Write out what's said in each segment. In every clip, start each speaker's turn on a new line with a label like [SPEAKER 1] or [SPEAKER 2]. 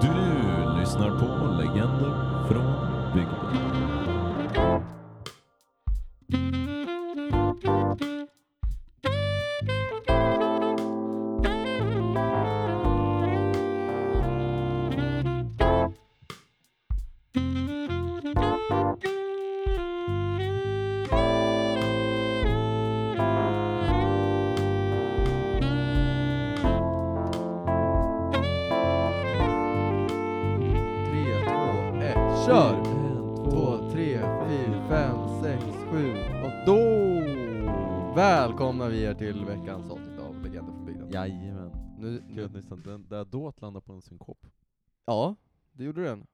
[SPEAKER 1] Du lyssnar på Legender från bygden.
[SPEAKER 2] Tre, två, ett, kör! Två, tre, fyra, fem, sex, sju och då välkomnar vi er till veckans avsnitt av Legender från bygden.
[SPEAKER 1] Jajamän.
[SPEAKER 2] Nu,
[SPEAKER 1] Gud
[SPEAKER 2] nu,
[SPEAKER 1] Nissan, den där dåt landar på en synkop.
[SPEAKER 2] ja, det gjorde den.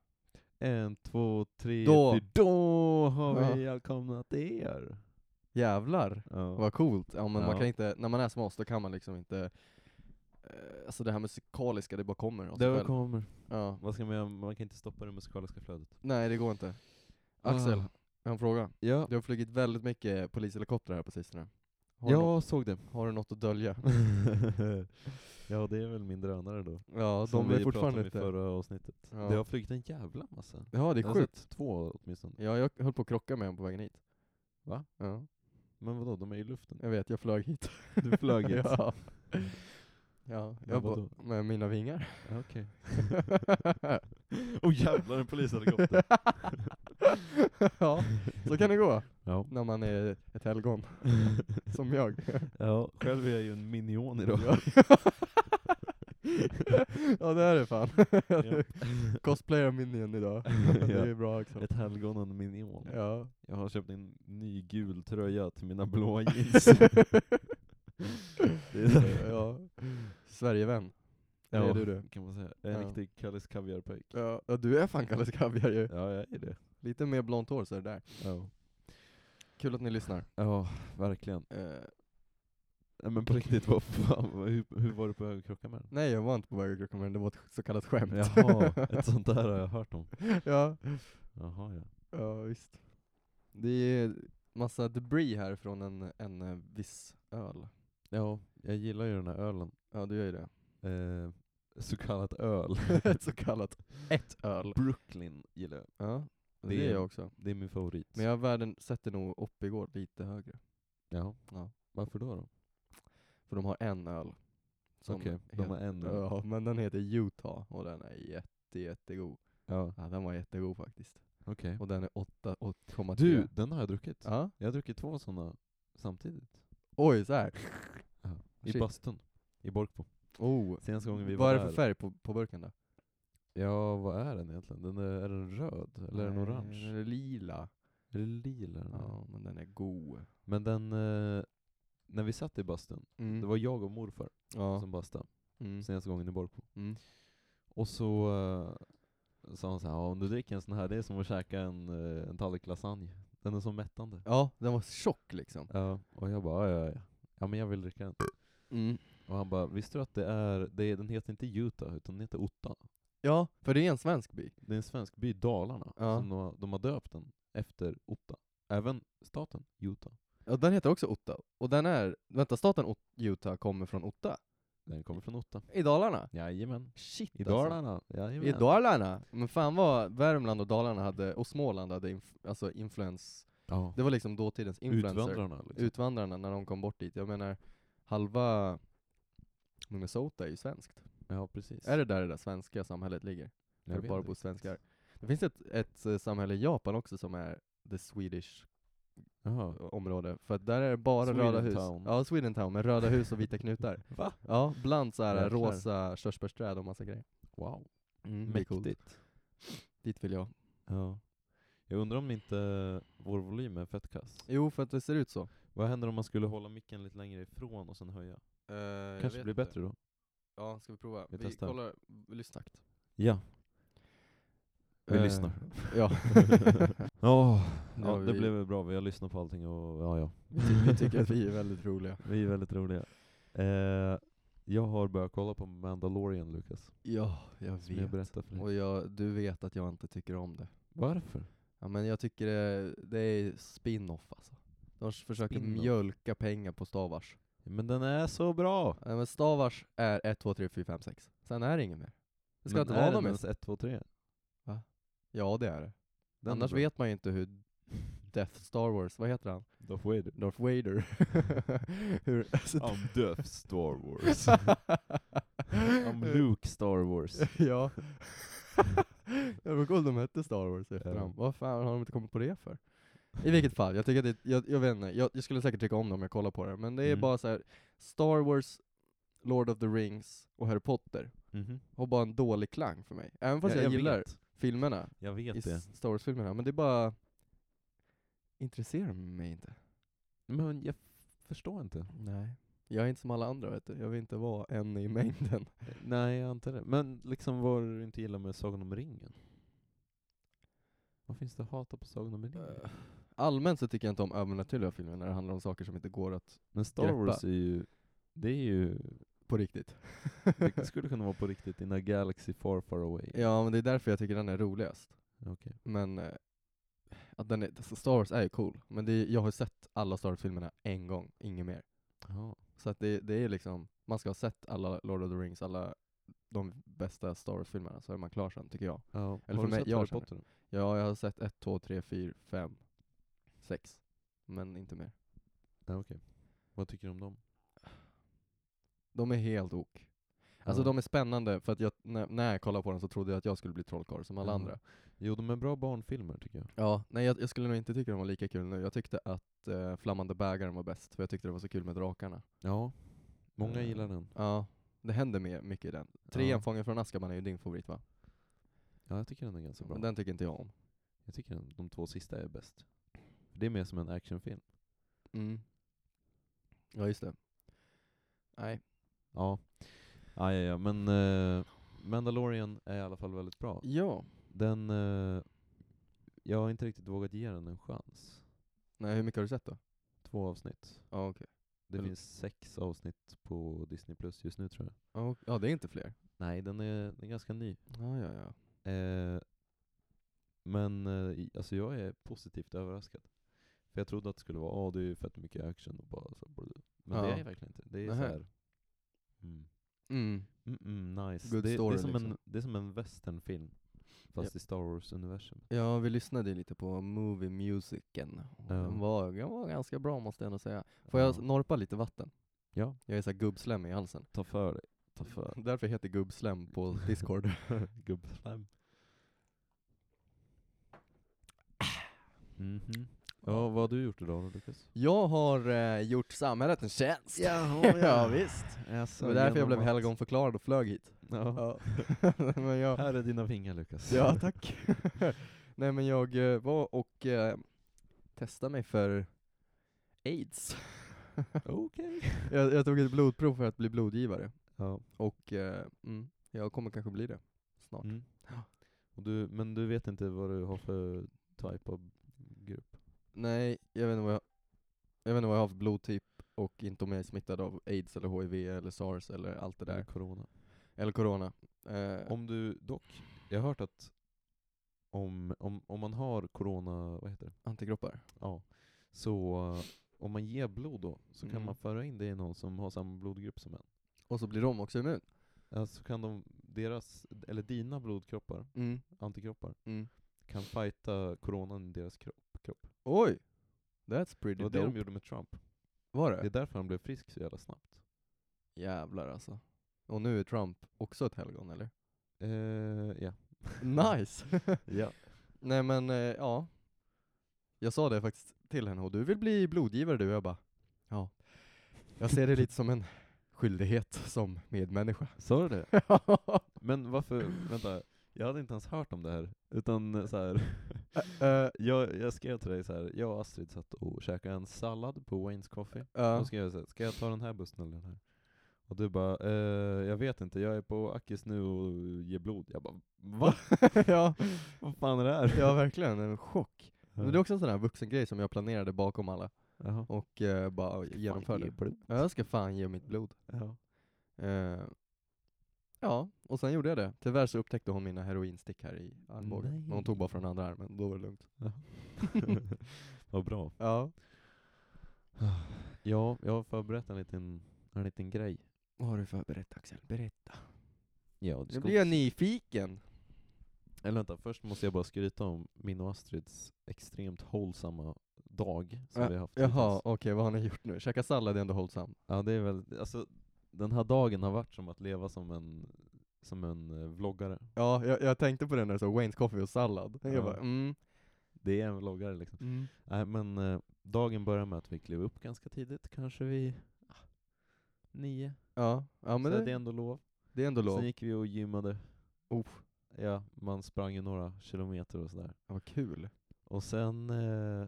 [SPEAKER 1] En, två, tre,
[SPEAKER 2] Då.
[SPEAKER 1] fyra. Då har
[SPEAKER 2] Ja.
[SPEAKER 1] vi välkomnat er.
[SPEAKER 2] Jävlar
[SPEAKER 1] Ja.
[SPEAKER 2] vad coolt. Ja, men
[SPEAKER 1] Ja.
[SPEAKER 2] Man kan inte, när man är som oss då kan man liksom inte eh, Alltså det här musikaliska, det bara kommer av sig
[SPEAKER 1] Det
[SPEAKER 2] själv.
[SPEAKER 1] kommer.
[SPEAKER 2] ja.
[SPEAKER 1] Vad ska man göra? Man kan inte stoppa det musikaliska flödet.
[SPEAKER 2] Nej det går inte. Axel,
[SPEAKER 1] Ah.
[SPEAKER 2] jag har en fråga.
[SPEAKER 1] Ja,
[SPEAKER 2] Det har flugit väldigt mycket polishelikoptrar här på sistone. Har, du, nå-
[SPEAKER 1] jag såg det.
[SPEAKER 2] har du något att dölja?
[SPEAKER 1] ja, det är väl min drönare då.
[SPEAKER 2] Ja,
[SPEAKER 1] Som
[SPEAKER 2] de är
[SPEAKER 1] vi pratade
[SPEAKER 2] fortfarande
[SPEAKER 1] om i
[SPEAKER 2] inte...
[SPEAKER 1] förra Alltså, avsnittet.
[SPEAKER 2] Ja.
[SPEAKER 1] Det har flugit en jävla massa.
[SPEAKER 2] Ja, det
[SPEAKER 1] Jag
[SPEAKER 2] är
[SPEAKER 1] har
[SPEAKER 2] sjukt.
[SPEAKER 1] sett två åtminstone.
[SPEAKER 2] Ja, jag höll på att krocka med honom på vägen hit.
[SPEAKER 1] Va?
[SPEAKER 2] Ja,
[SPEAKER 1] Men vadå, de är i luften.
[SPEAKER 2] jag vet, jag flög hit.
[SPEAKER 1] Du flög hit.
[SPEAKER 2] ja. ja, jag
[SPEAKER 1] vadå?
[SPEAKER 2] bara, med mina vingar.
[SPEAKER 1] Okej. Åh jävlar, en polishelikopter.
[SPEAKER 2] ja, så kan det gå
[SPEAKER 1] ja.
[SPEAKER 2] när man är ett helgon, som jag.
[SPEAKER 1] ja, själv är jag ju en minion idag.
[SPEAKER 2] ja, Ja, det är det fan.
[SPEAKER 1] Ja.
[SPEAKER 2] Cosplayer minion idag. det är bra också.
[SPEAKER 1] Ett helgon och en minion.
[SPEAKER 2] Ja.
[SPEAKER 1] Jag har köpt en ny gul tröja till mina blå jeans. det är det.
[SPEAKER 2] Eh, ja. Sverigevän. Det
[SPEAKER 1] Ja.
[SPEAKER 2] är du du.
[SPEAKER 1] kan man säga. Jag är en
[SPEAKER 2] Ja.
[SPEAKER 1] riktig Kalles Kaviar-pojk.
[SPEAKER 2] Ja, ja, du är fan Kalles Kaviar ju.
[SPEAKER 1] Ja, jag är det.
[SPEAKER 2] Lite mer blont hår så är det där.
[SPEAKER 1] Ja,
[SPEAKER 2] Kul att ni lyssnar.
[SPEAKER 1] ja verkligen.
[SPEAKER 2] Eh,
[SPEAKER 1] Nej, men på riktigt, vad fan, vad- hur, hur var du på väg att krocka med den?
[SPEAKER 2] nej jag var inte på väg att krocka med den, det var ett så kallat skämt.
[SPEAKER 1] Jaha, ett sånt där har jag hört om.
[SPEAKER 2] ja.
[SPEAKER 1] Jaha, ja.
[SPEAKER 2] ja, visst. Det är massa debris här från en, en eh, viss öl.
[SPEAKER 1] Ja, jag gillar ju den här ölen.
[SPEAKER 2] Ja du gör ju det.
[SPEAKER 1] Eh, så kallat öl.
[SPEAKER 2] ett så kallat ett öl.
[SPEAKER 1] Brooklyn gillar jag.
[SPEAKER 2] Ja, det,
[SPEAKER 1] Det är-
[SPEAKER 2] är jag också.
[SPEAKER 1] Det är min favorit.
[SPEAKER 2] Men jag världen sätter nog Oppigård lite högre.
[SPEAKER 1] ja.
[SPEAKER 2] Ja.
[SPEAKER 1] Varför då? då?
[SPEAKER 2] För de har en öl. som
[SPEAKER 1] Okej, de
[SPEAKER 2] het-
[SPEAKER 1] har en öl.
[SPEAKER 2] Ja, men den heter Utah och den är jätte, jättegod.
[SPEAKER 1] Ja,
[SPEAKER 2] Ja, den var jättegod faktiskt.
[SPEAKER 1] okej.
[SPEAKER 2] Och den är 8 8,3.
[SPEAKER 1] Du, den har jag druckit.
[SPEAKER 2] Ja.
[SPEAKER 1] Jag har druckit två sådana samtidigt.
[SPEAKER 2] Oj, så här.
[SPEAKER 1] I
[SPEAKER 2] Shit.
[SPEAKER 1] bastun. I Borkbo.
[SPEAKER 2] Oh.
[SPEAKER 1] Senaste gången vi
[SPEAKER 2] Vad
[SPEAKER 1] var
[SPEAKER 2] är det för
[SPEAKER 1] där.
[SPEAKER 2] färg på, på burken då?
[SPEAKER 1] Ja, vad är den egentligen? Den är, är den röd? Eller är den
[SPEAKER 2] Nej,
[SPEAKER 1] orange? Mm.
[SPEAKER 2] Den är lila.
[SPEAKER 1] Är det lila? den är?
[SPEAKER 2] Ja, men den är god.
[SPEAKER 1] Men den, eh, när vi satt i bastun,
[SPEAKER 2] Mm.
[SPEAKER 1] det var jag och morfar
[SPEAKER 2] ja.
[SPEAKER 1] som bastade
[SPEAKER 2] mm.
[SPEAKER 1] senaste gången i Borkbo.
[SPEAKER 2] Mm.
[SPEAKER 1] Och så eh, sa han såhär, ja, om du dricker en sån här, det är som att käka en, eh, en tallrik lasagne. Den är så mättande.
[SPEAKER 2] ja, den var tjock liksom.
[SPEAKER 1] Ja, och jag bara, ja, ja, ja. ja men jag vill dricka den.
[SPEAKER 2] Mm.
[SPEAKER 1] Och han bara, visste du att det är, det är den heter inte Utah, utan den heter Otta.
[SPEAKER 2] Ja, för det är en svensk by.
[SPEAKER 1] Det är en svensk by, Dalarna,
[SPEAKER 2] Ja.
[SPEAKER 1] som de har, de har döpt den efter Otta. Även staten Utah.
[SPEAKER 2] Ja, den heter också Otta. Och den är, vänta, staten Ot- Utah kommer från Otta?
[SPEAKER 1] Den kommer från Otta.
[SPEAKER 2] I Dalarna?
[SPEAKER 1] Jajamän.
[SPEAKER 2] Shit
[SPEAKER 1] I
[SPEAKER 2] Alltså.
[SPEAKER 1] Dalarna. Jajamän.
[SPEAKER 2] I Dalarna? Men fan vad Värmland och Dalarna hade, och Småland hade inf- alltså influens.
[SPEAKER 1] Ja.
[SPEAKER 2] Det var liksom dåtidens influencer.
[SPEAKER 1] Utvandrarna liksom.
[SPEAKER 2] utvandrarna när de kom bort dit. Jag menar, halva Minnesota är ju svenskt.
[SPEAKER 1] Ja, precis.
[SPEAKER 2] Är det där det där svenska samhället ligger?
[SPEAKER 1] Jag
[SPEAKER 2] Där det
[SPEAKER 1] vet
[SPEAKER 2] bara
[SPEAKER 1] inte
[SPEAKER 2] bor
[SPEAKER 1] riktigt.
[SPEAKER 2] svenskar. Det finns ett, ett eh, samhälle i Japan också som är the Swedish eh,
[SPEAKER 1] Jaha.
[SPEAKER 2] område, för att där är det bara röda hus.
[SPEAKER 1] Swedentown.
[SPEAKER 2] Ja, Swedentown med röda hus och vita knutar.
[SPEAKER 1] Va?
[SPEAKER 2] Ja, bland så här
[SPEAKER 1] Jäklar.
[SPEAKER 2] rosa körsbärsträd och massa grejer.
[SPEAKER 1] Wow.
[SPEAKER 2] Mm, det är coolt.
[SPEAKER 1] Mäktigt.
[SPEAKER 2] Dit vill jag.
[SPEAKER 1] Ja. Jag undrar om inte vår volym är fett kass.
[SPEAKER 2] Jo, för att det ser ut så.
[SPEAKER 1] Vad händer om man skulle hålla micken lite längre ifrån och sen höja?
[SPEAKER 2] Eh,
[SPEAKER 1] Kanske blir bättre då?
[SPEAKER 2] Ja, ska vi prova?
[SPEAKER 1] Vi
[SPEAKER 2] Vi,
[SPEAKER 1] Vi testar.
[SPEAKER 2] kollar lyssnakt.
[SPEAKER 1] Ja. Vi
[SPEAKER 2] Eh,
[SPEAKER 1] lyssnar.
[SPEAKER 2] Ja.
[SPEAKER 1] Ja,
[SPEAKER 2] Ja,
[SPEAKER 1] ja, det
[SPEAKER 2] vi-
[SPEAKER 1] blev väl bra. Vi har lyssnat på allting och ja, ja.
[SPEAKER 2] vi, ty- vi tycker att vi är väldigt roliga.
[SPEAKER 1] Vi är väldigt roliga. Eh, jag har börjat kolla på Mandalorian, Lukas.
[SPEAKER 2] Ja, jag
[SPEAKER 1] Som jag
[SPEAKER 2] vet.
[SPEAKER 1] berättade för dig.
[SPEAKER 2] Och jag, du vet att jag inte tycker om det.
[SPEAKER 1] Varför?
[SPEAKER 2] Ja, men jag tycker det, det är spin-off alltså. De s- försöker
[SPEAKER 1] Spin-off.
[SPEAKER 2] mjölka pengar på Stavars.
[SPEAKER 1] Men den är så bra!
[SPEAKER 2] Ja, men Stavars är 1, 2, 3, 4, 5, 6. Sen är det inget mer. Det ska
[SPEAKER 1] Men
[SPEAKER 2] inte
[SPEAKER 1] är
[SPEAKER 2] vara
[SPEAKER 1] den
[SPEAKER 2] någon mer.
[SPEAKER 1] ens 1, 2, 3?
[SPEAKER 2] Ja det är det.
[SPEAKER 1] Den
[SPEAKER 2] Annars
[SPEAKER 1] är bra.
[SPEAKER 2] vet man ju inte hur Death Star Wars, vad heter han?
[SPEAKER 1] Darth Vader.
[SPEAKER 2] Darth Vader. hur, alltså,
[SPEAKER 1] I'm Death Star Wars. I'm Luke Star Wars.
[SPEAKER 2] ja. det var coolt de hette Star Wars i
[SPEAKER 1] Ja.
[SPEAKER 2] efternamn. Vad fan har de inte kommit på det för? I vilket fall, jag tycker att det, jag, jag vet inte, jag, jag skulle säkert tycka om det om jag kollar på det, men det är
[SPEAKER 1] Mm.
[SPEAKER 2] bara så här Star Wars, Lord of the Rings och Harry Potter
[SPEAKER 1] Mhm.
[SPEAKER 2] har bara en dålig klang för mig. Även fast
[SPEAKER 1] Ja,
[SPEAKER 2] jag, gillar
[SPEAKER 1] Vet.
[SPEAKER 2] filmerna,
[SPEAKER 1] Jag
[SPEAKER 2] i
[SPEAKER 1] vet det.
[SPEAKER 2] Star Wars-filmerna, men det är bara intresserar mig inte.
[SPEAKER 1] Men jag förstår inte.
[SPEAKER 2] Nej. Jag är inte som alla andra vet du, jag vill inte vara en i mängden.
[SPEAKER 1] Nej, jag antar det. Men liksom vad du inte gillar med Sagan om ringen? Vad finns det att hata på Sagan om ringen?
[SPEAKER 2] Eh, Allmänt så tycker jag inte om övernaturliga filmer när det handlar om saker som inte går att,
[SPEAKER 1] Men Star
[SPEAKER 2] greppa.
[SPEAKER 1] Wars är ju, det är ju,
[SPEAKER 2] på riktigt.
[SPEAKER 1] det skulle kunna vara på riktigt, in a galaxy far far away.
[SPEAKER 2] ja men det är därför jag tycker den är roligast.
[SPEAKER 1] Okej.
[SPEAKER 2] Men, eh, att den är, alltså Star Wars är ju cool, men det är, jag har sett alla Star Wars-filmerna en gång, inget mer.
[SPEAKER 1] Ja.
[SPEAKER 2] Så att det, det är liksom, man ska ha sett alla Lord of the Rings, alla de bästa Star Wars-filmerna, så är man klar sen tycker jag.
[SPEAKER 1] Ja.
[SPEAKER 2] Eller
[SPEAKER 1] Har
[SPEAKER 2] för
[SPEAKER 1] du
[SPEAKER 2] mig-
[SPEAKER 1] sett
[SPEAKER 2] jag
[SPEAKER 1] Harry
[SPEAKER 2] känner.
[SPEAKER 1] Potter?
[SPEAKER 2] Ja, jag har sett ett, två, tre, fyra, fem, sex, Men inte mer.
[SPEAKER 1] Ja, okej. Vad tycker du om dem?
[SPEAKER 2] De är helt ok. Alltså
[SPEAKER 1] Ja.
[SPEAKER 2] de är spännande för att jag, när, när jag kollade på dem så trodde jag att jag skulle bli trollkarl som alla
[SPEAKER 1] Ja.
[SPEAKER 2] andra.
[SPEAKER 1] Jo, de är bra barnfilmer tycker jag.
[SPEAKER 2] Ja, nej jag, jag skulle nog inte tycka de var lika kul nu. Jag tyckte att eh, Flammande bägaren var bäst för jag tyckte det var så kul med drakarna.
[SPEAKER 1] Ja. Många
[SPEAKER 2] Eh,
[SPEAKER 1] gillar den.
[SPEAKER 2] Ja, det händer mer, mycket i den. Trean,
[SPEAKER 1] Ja.
[SPEAKER 2] Fången från Azkaban är ju din favorit va?
[SPEAKER 1] Ja, jag tycker den är ganska bra.
[SPEAKER 2] Men den tycker inte jag om.
[SPEAKER 1] Jag tycker den, de två sista är bäst. Det är mer som en actionfilm.
[SPEAKER 2] Mm. Ja just det. Nej.
[SPEAKER 1] Ja. Ja, ja, ja. men eh, Mandalorian är i alla fall väldigt bra.
[SPEAKER 2] Ja.
[SPEAKER 1] Den, eh, jag har inte riktigt vågat ge den en chans.
[SPEAKER 2] Nej, hur mycket har du sett då?
[SPEAKER 1] Två avsnitt.
[SPEAKER 2] Ja okej.
[SPEAKER 1] Det
[SPEAKER 2] Eller-
[SPEAKER 1] finns sex avsnitt på Disney Plus just nu tror jag.
[SPEAKER 2] Ja, ok- Ja, det är inte fler.
[SPEAKER 1] Nej, den är, den är ganska ny.
[SPEAKER 2] Ja, ja, ja.
[SPEAKER 1] Eh, men eh, i- alltså jag är positivt överraskad. För jag trodde att det skulle vara, åh det är fett mycket action och bara så. blablabla." Men det
[SPEAKER 2] Ja.
[SPEAKER 1] är verkligen inte. Det är
[SPEAKER 2] Nähä.
[SPEAKER 1] såhär, mm,
[SPEAKER 2] Mm.
[SPEAKER 1] mm, mm, nice.
[SPEAKER 2] Good
[SPEAKER 1] det, det,
[SPEAKER 2] story,
[SPEAKER 1] är som en,
[SPEAKER 2] liksom.
[SPEAKER 1] det är som en westernfilm. Fast i Star Wars-universum.
[SPEAKER 2] Ja, vi lyssnade ju lite på movie musicen.
[SPEAKER 1] Ja.
[SPEAKER 2] Den, var, den var ganska bra måste jag ändå säga. Får jag
[SPEAKER 1] Ja.
[SPEAKER 2] norpa lite vatten?
[SPEAKER 1] Ja,
[SPEAKER 2] Jag är såhär gubbslem i halsen.
[SPEAKER 1] ta för dig. Ta för
[SPEAKER 2] Därför heter gubbslem på discord.
[SPEAKER 1] Gubbslime. Mhm. Ja, vad har du gjort idag då Lukas?
[SPEAKER 2] jag har eh, gjort samhället en tjänst.
[SPEAKER 1] Jaha,
[SPEAKER 2] ja, visst.
[SPEAKER 1] Alltså,
[SPEAKER 2] det var därför jag blev helgonförklarad och flög hit.
[SPEAKER 1] Ja.
[SPEAKER 2] Ja. men jag,
[SPEAKER 1] Här är dina vingar Lukas.
[SPEAKER 2] ja, tack. Nej men jag eh, var och eh, testade mig för aids.
[SPEAKER 1] Okej.
[SPEAKER 2] jag, jag tog ett blodprov för att bli blodgivare.
[SPEAKER 1] Ja.
[SPEAKER 2] Och eh, mm, jag kommer kanske bli det snart.
[SPEAKER 1] Mm. Och du, men du vet inte vad du har för type av grupp?
[SPEAKER 2] Nej, jag vet, inte vad jag, jag vet inte vad jag har för blodtyp och inte om jag är smittad av aids eller hiv eller sars eller allt det
[SPEAKER 1] Eller
[SPEAKER 2] där.
[SPEAKER 1] corona?
[SPEAKER 2] Eller corona. Eh,
[SPEAKER 1] Om du dock, jag har hört att om, om, om man har corona, vad heter det?
[SPEAKER 2] antikroppar.
[SPEAKER 1] Ja. Så eh, om man ger blod då, så kan
[SPEAKER 2] Mm.
[SPEAKER 1] man föra in det i någon som har samma blodgrupp som en.
[SPEAKER 2] Och så blir de också immun.
[SPEAKER 1] Ja, så kan de, deras, eller dina blodkroppar,
[SPEAKER 2] Mm.
[SPEAKER 1] antikroppar,
[SPEAKER 2] Mm.
[SPEAKER 1] kan fighta coronan i deras kropp. kropp.
[SPEAKER 2] Oj! That's
[SPEAKER 1] Det
[SPEAKER 2] pretty
[SPEAKER 1] var
[SPEAKER 2] dope.
[SPEAKER 1] det de gjorde med Trump.
[SPEAKER 2] Var
[SPEAKER 1] Det är
[SPEAKER 2] det?
[SPEAKER 1] därför han blev frisk så jävla snabbt.
[SPEAKER 2] Jävlar alltså. Och nu är Trump också ett helgon eller?
[SPEAKER 1] Eh, ja.
[SPEAKER 2] Nice!
[SPEAKER 1] ja.
[SPEAKER 2] Nej men eh, ja. Jag sa det faktiskt till henne och du vill bli blodgivare du? Jag bara ja. Jag ser det lite som en skyldighet som medmänniska. Eh,
[SPEAKER 1] Sa du det? Men varför, vänta, jag hade inte ens hört om det här. Utan eh, så här,
[SPEAKER 2] Eh,
[SPEAKER 1] jag, jag skrev till dig så här. jag och Astrid satt och käkade en sallad på Wayne's Coffee.
[SPEAKER 2] ja.
[SPEAKER 1] Då skrev jag så här, ska jag ta den här bussen eller den här? Och du bara, eh, jag vet inte, jag är på Akis nu och ger blod. Jag bara, va?
[SPEAKER 2] ja,
[SPEAKER 1] Vad fan är det här?
[SPEAKER 2] ja verkligen, en chock. Men det är också en sån här vuxengrej som jag planerade bakom alla
[SPEAKER 1] Jaha.
[SPEAKER 2] och eh, bara genomförde. Ja, Jag ska fan ge mitt blod.
[SPEAKER 1] Ja.
[SPEAKER 2] Eh, ja, och sen gjorde jag det. Tyvärr så upptäckte hon mina heroinstick här i armbågen. Men
[SPEAKER 1] Nej.
[SPEAKER 2] hon tog bara från andra armen, då var det lugnt.
[SPEAKER 1] Vad bra.
[SPEAKER 2] Ja,
[SPEAKER 1] Ja, jag har förberett en liten, en liten grej.
[SPEAKER 2] vad har du förberett Axel? Berätta.
[SPEAKER 1] Ja,
[SPEAKER 2] Nu blir jag nyfiken.
[SPEAKER 1] Eller vänta, först måste jag bara skryta om min och Astrids extremt hållsamma dag som
[SPEAKER 2] Ja,
[SPEAKER 1] vi har haft
[SPEAKER 2] Jaha,
[SPEAKER 1] hittills.
[SPEAKER 2] okej vad har ni gjort nu? Käka sallad är ändå hållsam.
[SPEAKER 1] Ja, det är väl, alltså den här dagen har varit som att leva som en, som en eh, vloggare.
[SPEAKER 2] Ja, jag, jag tänkte på det när du sa Waynes coffee och sallad.
[SPEAKER 1] Ja.
[SPEAKER 2] Jag bara, mm,
[SPEAKER 1] Det är en vloggare liksom.
[SPEAKER 2] mm.
[SPEAKER 1] Nej men eh, dagen börjar med att vi klev upp ganska tidigt, kanske vid ah, nio.
[SPEAKER 2] Ja, ja
[SPEAKER 1] Så
[SPEAKER 2] men
[SPEAKER 1] det är
[SPEAKER 2] det,
[SPEAKER 1] ändå lov.
[SPEAKER 2] det är ändå lov.
[SPEAKER 1] Sen gick vi och gymmade.
[SPEAKER 2] Oh,
[SPEAKER 1] Ja, man sprang ju några kilometer och sådär.
[SPEAKER 2] vad kul.
[SPEAKER 1] Och sen, eh,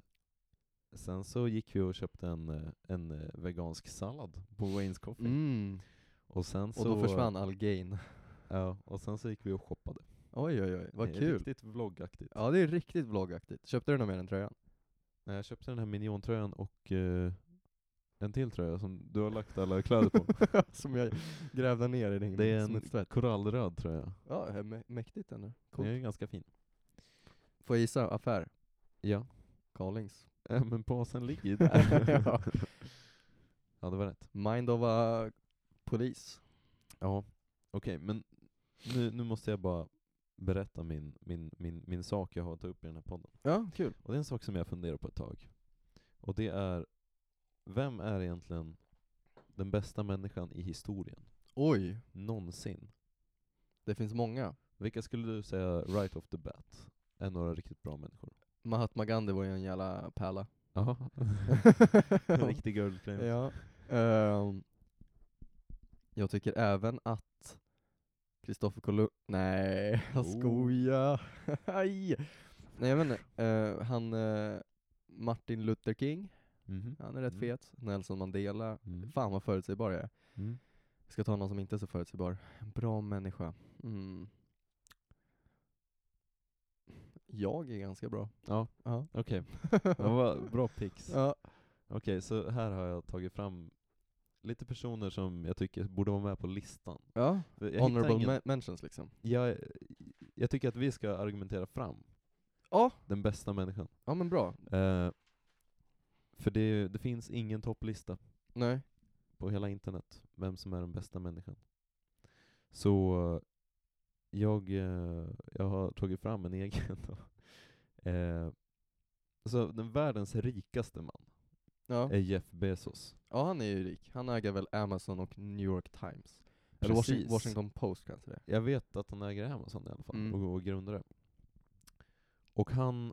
[SPEAKER 1] sen så gick vi och köpte en, eh, en eh, vegansk sallad på Wayne's Coffee.
[SPEAKER 2] Mm.
[SPEAKER 1] Och sen
[SPEAKER 2] Och
[SPEAKER 1] så...
[SPEAKER 2] då försvann all gain.
[SPEAKER 1] Ja, och sen så gick vi och shoppade.
[SPEAKER 2] Oj oj oj, vad
[SPEAKER 1] Det är
[SPEAKER 2] kul.
[SPEAKER 1] Riktigt vloggaktigt.
[SPEAKER 2] Ja det är riktigt vloggaktigt. Köpte du något mer än tröjan?
[SPEAKER 1] Nej, Jag köpte den här miniontröjan och eh, en till tröja som du har lagt alla kläder på.
[SPEAKER 2] Som jag grävde ner i din
[SPEAKER 1] Det är en
[SPEAKER 2] smutstvätt.
[SPEAKER 1] korallröd tröja.
[SPEAKER 2] Ja, det är mä- mäktigt ändå.
[SPEAKER 1] Den är
[SPEAKER 2] Coolt.
[SPEAKER 1] ju ganska fin.
[SPEAKER 2] Får jag gissa? Affär?
[SPEAKER 1] Ja.
[SPEAKER 2] Carlings?
[SPEAKER 1] Äh, men basen ligger ju där.
[SPEAKER 2] Ja.
[SPEAKER 1] ja, det var rätt.
[SPEAKER 2] Mind of a polis?
[SPEAKER 1] Ja. Okej, men nu, nu måste jag bara berätta min, min, min, min sak jag har att ta upp i den här podden.
[SPEAKER 2] Ja, kul.
[SPEAKER 1] Och det är en sak som jag funderar på ett tag. Och det är, vem är egentligen den bästa människan i historien?
[SPEAKER 2] Oj,
[SPEAKER 1] Någonsin.
[SPEAKER 2] det finns många.
[SPEAKER 1] Vilka skulle du säga right off the bat är några riktigt bra människor?
[SPEAKER 2] Mahatma Gandhi var ju en jävla pärla.
[SPEAKER 1] Jaha. en riktig guldflame.
[SPEAKER 2] ja. Ehm, jag tycker även att Kristoffer Kolumb... Nej, jag
[SPEAKER 1] Oh.
[SPEAKER 2] skojar. Aj. Nej, jag vet inte. Eh, han eh, Martin Luther King,
[SPEAKER 1] Mhm.
[SPEAKER 2] han är rätt
[SPEAKER 1] Mm.
[SPEAKER 2] fet. Nelson Mandela.
[SPEAKER 1] Mm.
[SPEAKER 2] Fan vad förutsägbar jag är.
[SPEAKER 1] Mm.
[SPEAKER 2] Jag ska ta någon som inte är så förutsägbar. En bra människa. Mm. Jag är ganska bra.
[SPEAKER 1] Ja.
[SPEAKER 2] Ja.
[SPEAKER 1] Okej, det var bra picks.
[SPEAKER 2] ja.
[SPEAKER 1] Okej, så här har jag tagit fram lite personer som jag tycker borde vara med på listan.
[SPEAKER 2] ja.
[SPEAKER 1] För Jag hittar
[SPEAKER 2] Honorable
[SPEAKER 1] ingen-
[SPEAKER 2] men- mentions liksom.
[SPEAKER 1] jag, jag tycker att vi ska argumentera fram
[SPEAKER 2] Ja.
[SPEAKER 1] den bästa människan.
[SPEAKER 2] Ja men bra.
[SPEAKER 1] Eh, för det, det finns ingen topplista
[SPEAKER 2] Nej.
[SPEAKER 1] på hela internet, vem som är den bästa människan. Så jag, eh, jag har tagit fram en egen. Då. Eh, så den världens rikaste man
[SPEAKER 2] Ja.
[SPEAKER 1] är Jeff Bezos.
[SPEAKER 2] ja, han är ju rik. Han äger väl Amazon och New York Times. Eller Washington,
[SPEAKER 1] Precis.
[SPEAKER 2] Washington Post kanske det är.
[SPEAKER 1] Jag vet att han äger Amazon i alla fall,
[SPEAKER 2] Mm.
[SPEAKER 1] och, och grundar det. Och han,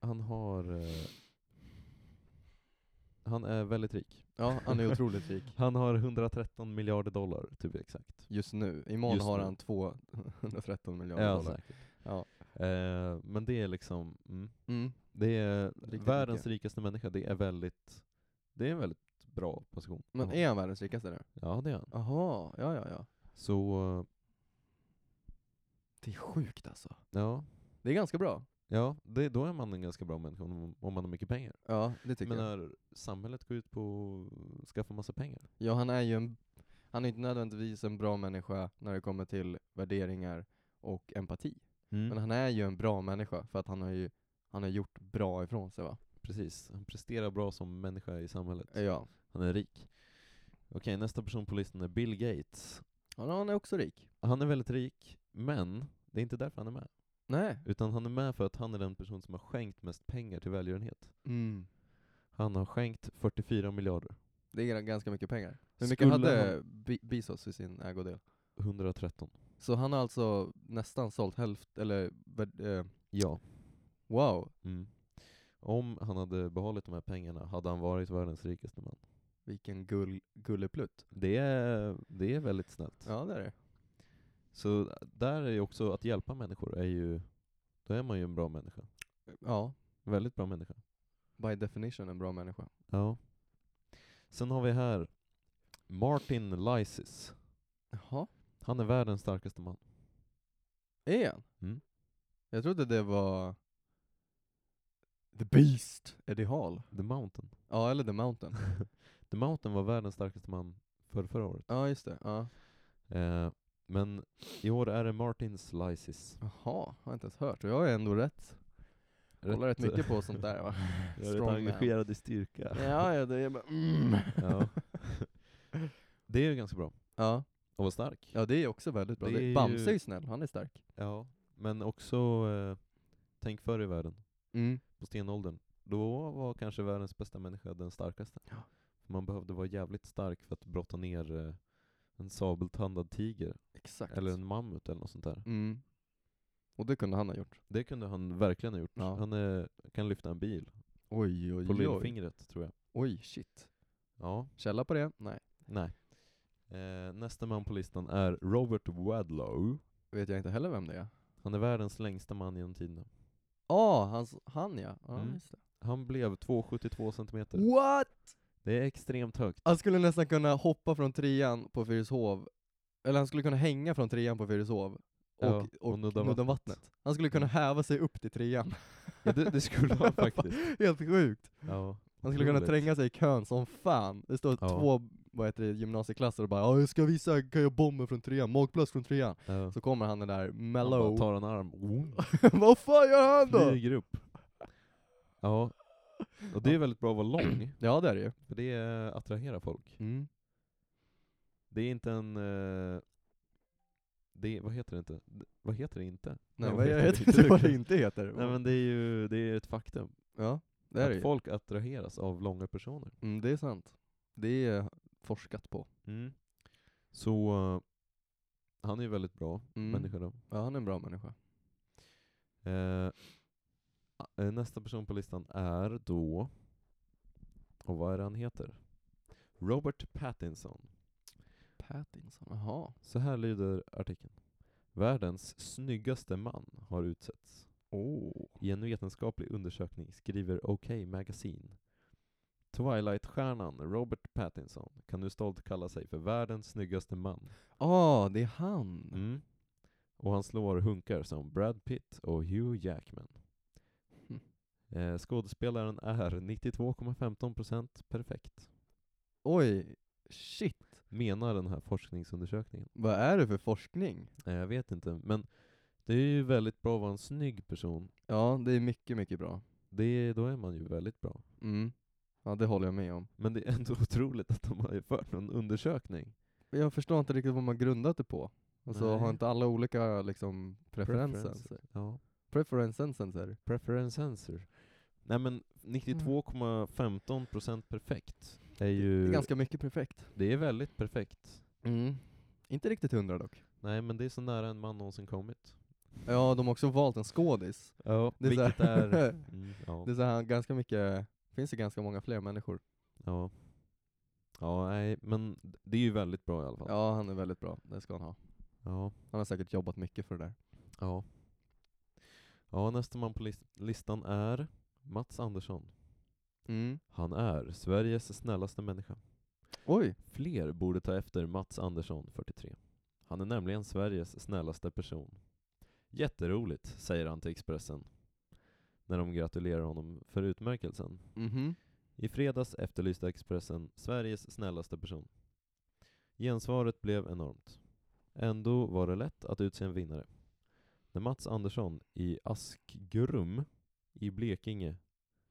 [SPEAKER 1] han har, eh, han är väldigt rik.
[SPEAKER 2] Ja, han är otroligt rik.
[SPEAKER 1] Han har 113 miljarder dollar, typ exakt.
[SPEAKER 2] Just nu. Imorgon
[SPEAKER 1] Just
[SPEAKER 2] har
[SPEAKER 1] nu.
[SPEAKER 2] han 213 miljarder
[SPEAKER 1] Ja,
[SPEAKER 2] dollar.
[SPEAKER 1] säkert.
[SPEAKER 2] Ja.
[SPEAKER 1] Eh, men det är liksom, mm,
[SPEAKER 2] Mm.
[SPEAKER 1] det är
[SPEAKER 2] Riktigt
[SPEAKER 1] världens rikaste människa, det är väldigt, det är en väldigt bra position.
[SPEAKER 2] Men
[SPEAKER 1] Ja.
[SPEAKER 2] är han världens rikaste nu?
[SPEAKER 1] Ja det är han.
[SPEAKER 2] Jaha, ja ja ja.
[SPEAKER 1] Så, eh,
[SPEAKER 2] Det är sjukt alltså.
[SPEAKER 1] ja,
[SPEAKER 2] Det är ganska bra.
[SPEAKER 1] ja det, då är man en ganska bra människa om, om man har mycket pengar.
[SPEAKER 2] Ja, det tycker
[SPEAKER 1] men
[SPEAKER 2] jag.
[SPEAKER 1] när samhället går ut på att skaffa massa pengar.
[SPEAKER 2] Ja, han är ju en, han är inte nödvändigtvis en bra människa när det kommer till värderingar och empati. Men han är ju en bra människa för att han har ju han har gjort bra ifrån sig va?
[SPEAKER 1] Precis, han presterar bra som människa i samhället.
[SPEAKER 2] Ja.
[SPEAKER 1] Han är rik. Okej, nästa person på listan är Bill Gates.
[SPEAKER 2] Han, han är också rik.
[SPEAKER 1] Han är väldigt rik, men det är inte därför han är med.
[SPEAKER 2] Nej.
[SPEAKER 1] Utan han är med för att han är den person som har skänkt mest pengar till välgörenhet.
[SPEAKER 2] Mm.
[SPEAKER 1] Han har skänkt 44 miljarder.
[SPEAKER 2] Det är ganska mycket pengar. Hur mycket
[SPEAKER 1] Skulle
[SPEAKER 2] hade Be- Bezos i sin ägodel?
[SPEAKER 1] 113.
[SPEAKER 2] Så han har alltså nästan sålt hälft, eller värd- eh,
[SPEAKER 1] Ja.
[SPEAKER 2] wow,
[SPEAKER 1] Mm. Om han hade behållit de här pengarna hade han varit världens rikaste man.
[SPEAKER 2] vilken gull, gulleplutt.
[SPEAKER 1] Det är, det är väldigt snällt.
[SPEAKER 2] Ja det är det.
[SPEAKER 1] Så där är ju också, att hjälpa människor är ju, då är man ju en bra människa.
[SPEAKER 2] Ja,
[SPEAKER 1] En Väldigt bra människa.
[SPEAKER 2] by definition en bra människa.
[SPEAKER 1] Ja. Sen har vi här Martin Lysis.
[SPEAKER 2] Jaha,
[SPEAKER 1] Han är världens starkaste man.
[SPEAKER 2] är han?
[SPEAKER 1] Mm.
[SPEAKER 2] Jag trodde det var The Beast, Eddie Hall.
[SPEAKER 1] The Mountain.
[SPEAKER 2] Ja, eller The Mountain.
[SPEAKER 1] The Mountain var världens starkaste man för förra året.
[SPEAKER 2] Ja, just det. Ja.
[SPEAKER 1] Eh, men i år är det Martin Lysis.
[SPEAKER 2] Jaha, har jag inte ens hört. Och jag är ändå rätt, kollar rätt mycket på sånt där va.
[SPEAKER 1] Jag är rätt
[SPEAKER 2] Strongman.
[SPEAKER 1] engagerad i styrka.
[SPEAKER 2] Ja, ja det är bara mm.
[SPEAKER 1] Ja. Det är ju ganska bra.
[SPEAKER 2] Ja,
[SPEAKER 1] och vara stark.
[SPEAKER 2] Ja det är också väldigt bra.
[SPEAKER 1] Det
[SPEAKER 2] Det
[SPEAKER 1] är ju-
[SPEAKER 2] Bamse är ju snäll, han är stark.
[SPEAKER 1] Ja, men också, eh, tänk förr i världen,
[SPEAKER 2] Mm.
[SPEAKER 1] på stenåldern. Då var kanske världens bästa människa den starkaste.
[SPEAKER 2] Ja.
[SPEAKER 1] Man behövde vara jävligt stark för att brotta ner eh, en sabeltandad tiger,
[SPEAKER 2] Exakt.
[SPEAKER 1] eller en mammut eller något sånt där.
[SPEAKER 2] Mm. Och det kunde han ha gjort.
[SPEAKER 1] Det kunde han verkligen ha gjort.
[SPEAKER 2] Ja.
[SPEAKER 1] Han eh, kan lyfta en bil,
[SPEAKER 2] Oj
[SPEAKER 1] på
[SPEAKER 2] oj oj.
[SPEAKER 1] lillfingret tror jag.
[SPEAKER 2] Oj shit.
[SPEAKER 1] Ja,
[SPEAKER 2] Källa på det? Nej.
[SPEAKER 1] nej. Eh, nästa man på listan är Robert Wadlow.
[SPEAKER 2] Vet jag inte heller vem det är.
[SPEAKER 1] Han är världens längsta man genom tiderna.
[SPEAKER 2] Ah, hans, han ja. ja
[SPEAKER 1] Mm.
[SPEAKER 2] just det.
[SPEAKER 1] Han blev 2,72 centimeter.
[SPEAKER 2] What?
[SPEAKER 1] Det är extremt högt.
[SPEAKER 2] Han skulle nästan kunna hoppa från trean på Fyrishov, eller han skulle kunna hänga från trean på Fyrishov och,
[SPEAKER 1] Ja,
[SPEAKER 2] och,
[SPEAKER 1] och nudda Mm.
[SPEAKER 2] nudda vattnet. Han skulle kunna häva sig upp till trean.
[SPEAKER 1] Ja, det, det skulle han faktiskt.
[SPEAKER 2] Helt sjukt.
[SPEAKER 1] Ja,
[SPEAKER 2] Han skulle kunna
[SPEAKER 1] otroligt.
[SPEAKER 2] tränga sig i kön som fan. Det står
[SPEAKER 1] Ja.
[SPEAKER 2] två vad heter det, gymnasieklasser och bara "Ja, jag ska visa, kan jag bomber från trean, magplats från trean?
[SPEAKER 1] Ja.
[SPEAKER 2] Så kommer han den där
[SPEAKER 1] Han
[SPEAKER 2] mellow,
[SPEAKER 1] bara tar en arm, oh,
[SPEAKER 2] vad fan gör han då?
[SPEAKER 1] flyger upp. Ja. Och det är väldigt bra att vara lång,
[SPEAKER 2] Ja det är det ju.
[SPEAKER 1] för det eh, attraherar folk.
[SPEAKER 2] Mm.
[SPEAKER 1] Det är inte en... eh, Det, vad heter det inte? D- Vad heter det inte?
[SPEAKER 2] Nej,
[SPEAKER 1] Ja,
[SPEAKER 2] vad jag vet
[SPEAKER 1] du
[SPEAKER 2] inte vad
[SPEAKER 1] kan-
[SPEAKER 2] det inte heter.
[SPEAKER 1] Nej men det är ju det är ett faktum.
[SPEAKER 2] Ja, det är det
[SPEAKER 1] att
[SPEAKER 2] ju.
[SPEAKER 1] folk attraheras av långa personer.
[SPEAKER 2] Mm, det är sant. Det är forskat på.
[SPEAKER 1] Mm. Så eh, han är ju väldigt bra
[SPEAKER 2] Mm.
[SPEAKER 1] människa då.
[SPEAKER 2] Ja, han är en bra människa.
[SPEAKER 1] Eh, a- eh, nästa person på listan är då, och vad är det han heter? Robert Pattinson.
[SPEAKER 2] Pattinson, jaha.
[SPEAKER 1] Så här lyder artikeln. Världens snyggaste man har utsetts.
[SPEAKER 2] Oh.
[SPEAKER 1] I en vetenskaplig undersökning skriver OK Magazine. Twilight-stjärnan Robert Pattinson kan nu stolt kalla sig för världens snyggaste man.
[SPEAKER 2] Ah, det är han.
[SPEAKER 1] Mm. Och han slår hunkar som Brad Pitt och Hugh Jackman.
[SPEAKER 2] Hmm.
[SPEAKER 1] Eh, skådespelaren är 92,15% perfekt,
[SPEAKER 2] Oj, shit.
[SPEAKER 1] menar den här forskningsundersökningen.
[SPEAKER 2] Vad är det för forskning?
[SPEAKER 1] Eh, jag vet inte, men det är ju väldigt bra att vara en snygg person.
[SPEAKER 2] Ja, det är mycket, mycket bra.
[SPEAKER 1] Det, då är man ju väldigt bra.
[SPEAKER 2] Mm. Ja, det håller jag med om.
[SPEAKER 1] Men det är ändå otroligt att de har fört någon undersökning.
[SPEAKER 2] Jag förstår inte riktigt vad man grundat det på. Alltså,
[SPEAKER 1] Nej.
[SPEAKER 2] har inte alla olika liksom preferenser?
[SPEAKER 1] Preferences. Ja.
[SPEAKER 2] Preferensenser.
[SPEAKER 1] Preferensenser. Nej
[SPEAKER 2] Mm.
[SPEAKER 1] men 92,15% perfekt är ju...
[SPEAKER 2] Det är ganska mycket perfekt.
[SPEAKER 1] det är väldigt perfekt.
[SPEAKER 2] Mm. Inte riktigt hundra dock.
[SPEAKER 1] Nej men det är så nära en man någonsin kommit.
[SPEAKER 2] Ja, de har också valt en skådis.
[SPEAKER 1] Ja,
[SPEAKER 2] Det är så
[SPEAKER 1] vilket
[SPEAKER 2] här-
[SPEAKER 1] är... Mm, ja,
[SPEAKER 2] Det är så här, ganska mycket, finns det ganska många fler människor.
[SPEAKER 1] ja. ja, nej men det är ju väldigt bra i alla fall.
[SPEAKER 2] Ja, han är väldigt bra. Det ska han ha.
[SPEAKER 1] Ja,
[SPEAKER 2] Han har säkert jobbat mycket för det där.
[SPEAKER 1] ja. ja nästa man på lis- listan är Mats Andersson.
[SPEAKER 2] Mm.
[SPEAKER 1] Han är Sveriges snällaste människa.
[SPEAKER 2] Oj!
[SPEAKER 1] Fler borde ta efter Mats Andersson, 43. Han är nämligen Sveriges snällaste person. Jätteroligt, säger han till Expressen när de gratulerar honom för utmärkelsen.
[SPEAKER 2] Mhm.
[SPEAKER 1] I fredags efterlyste Expressen Sveriges snällaste person. Gensvaret blev enormt. Ändå var det lätt att utse en vinnare. När Mats Andersson i Askgrum i Blekinge,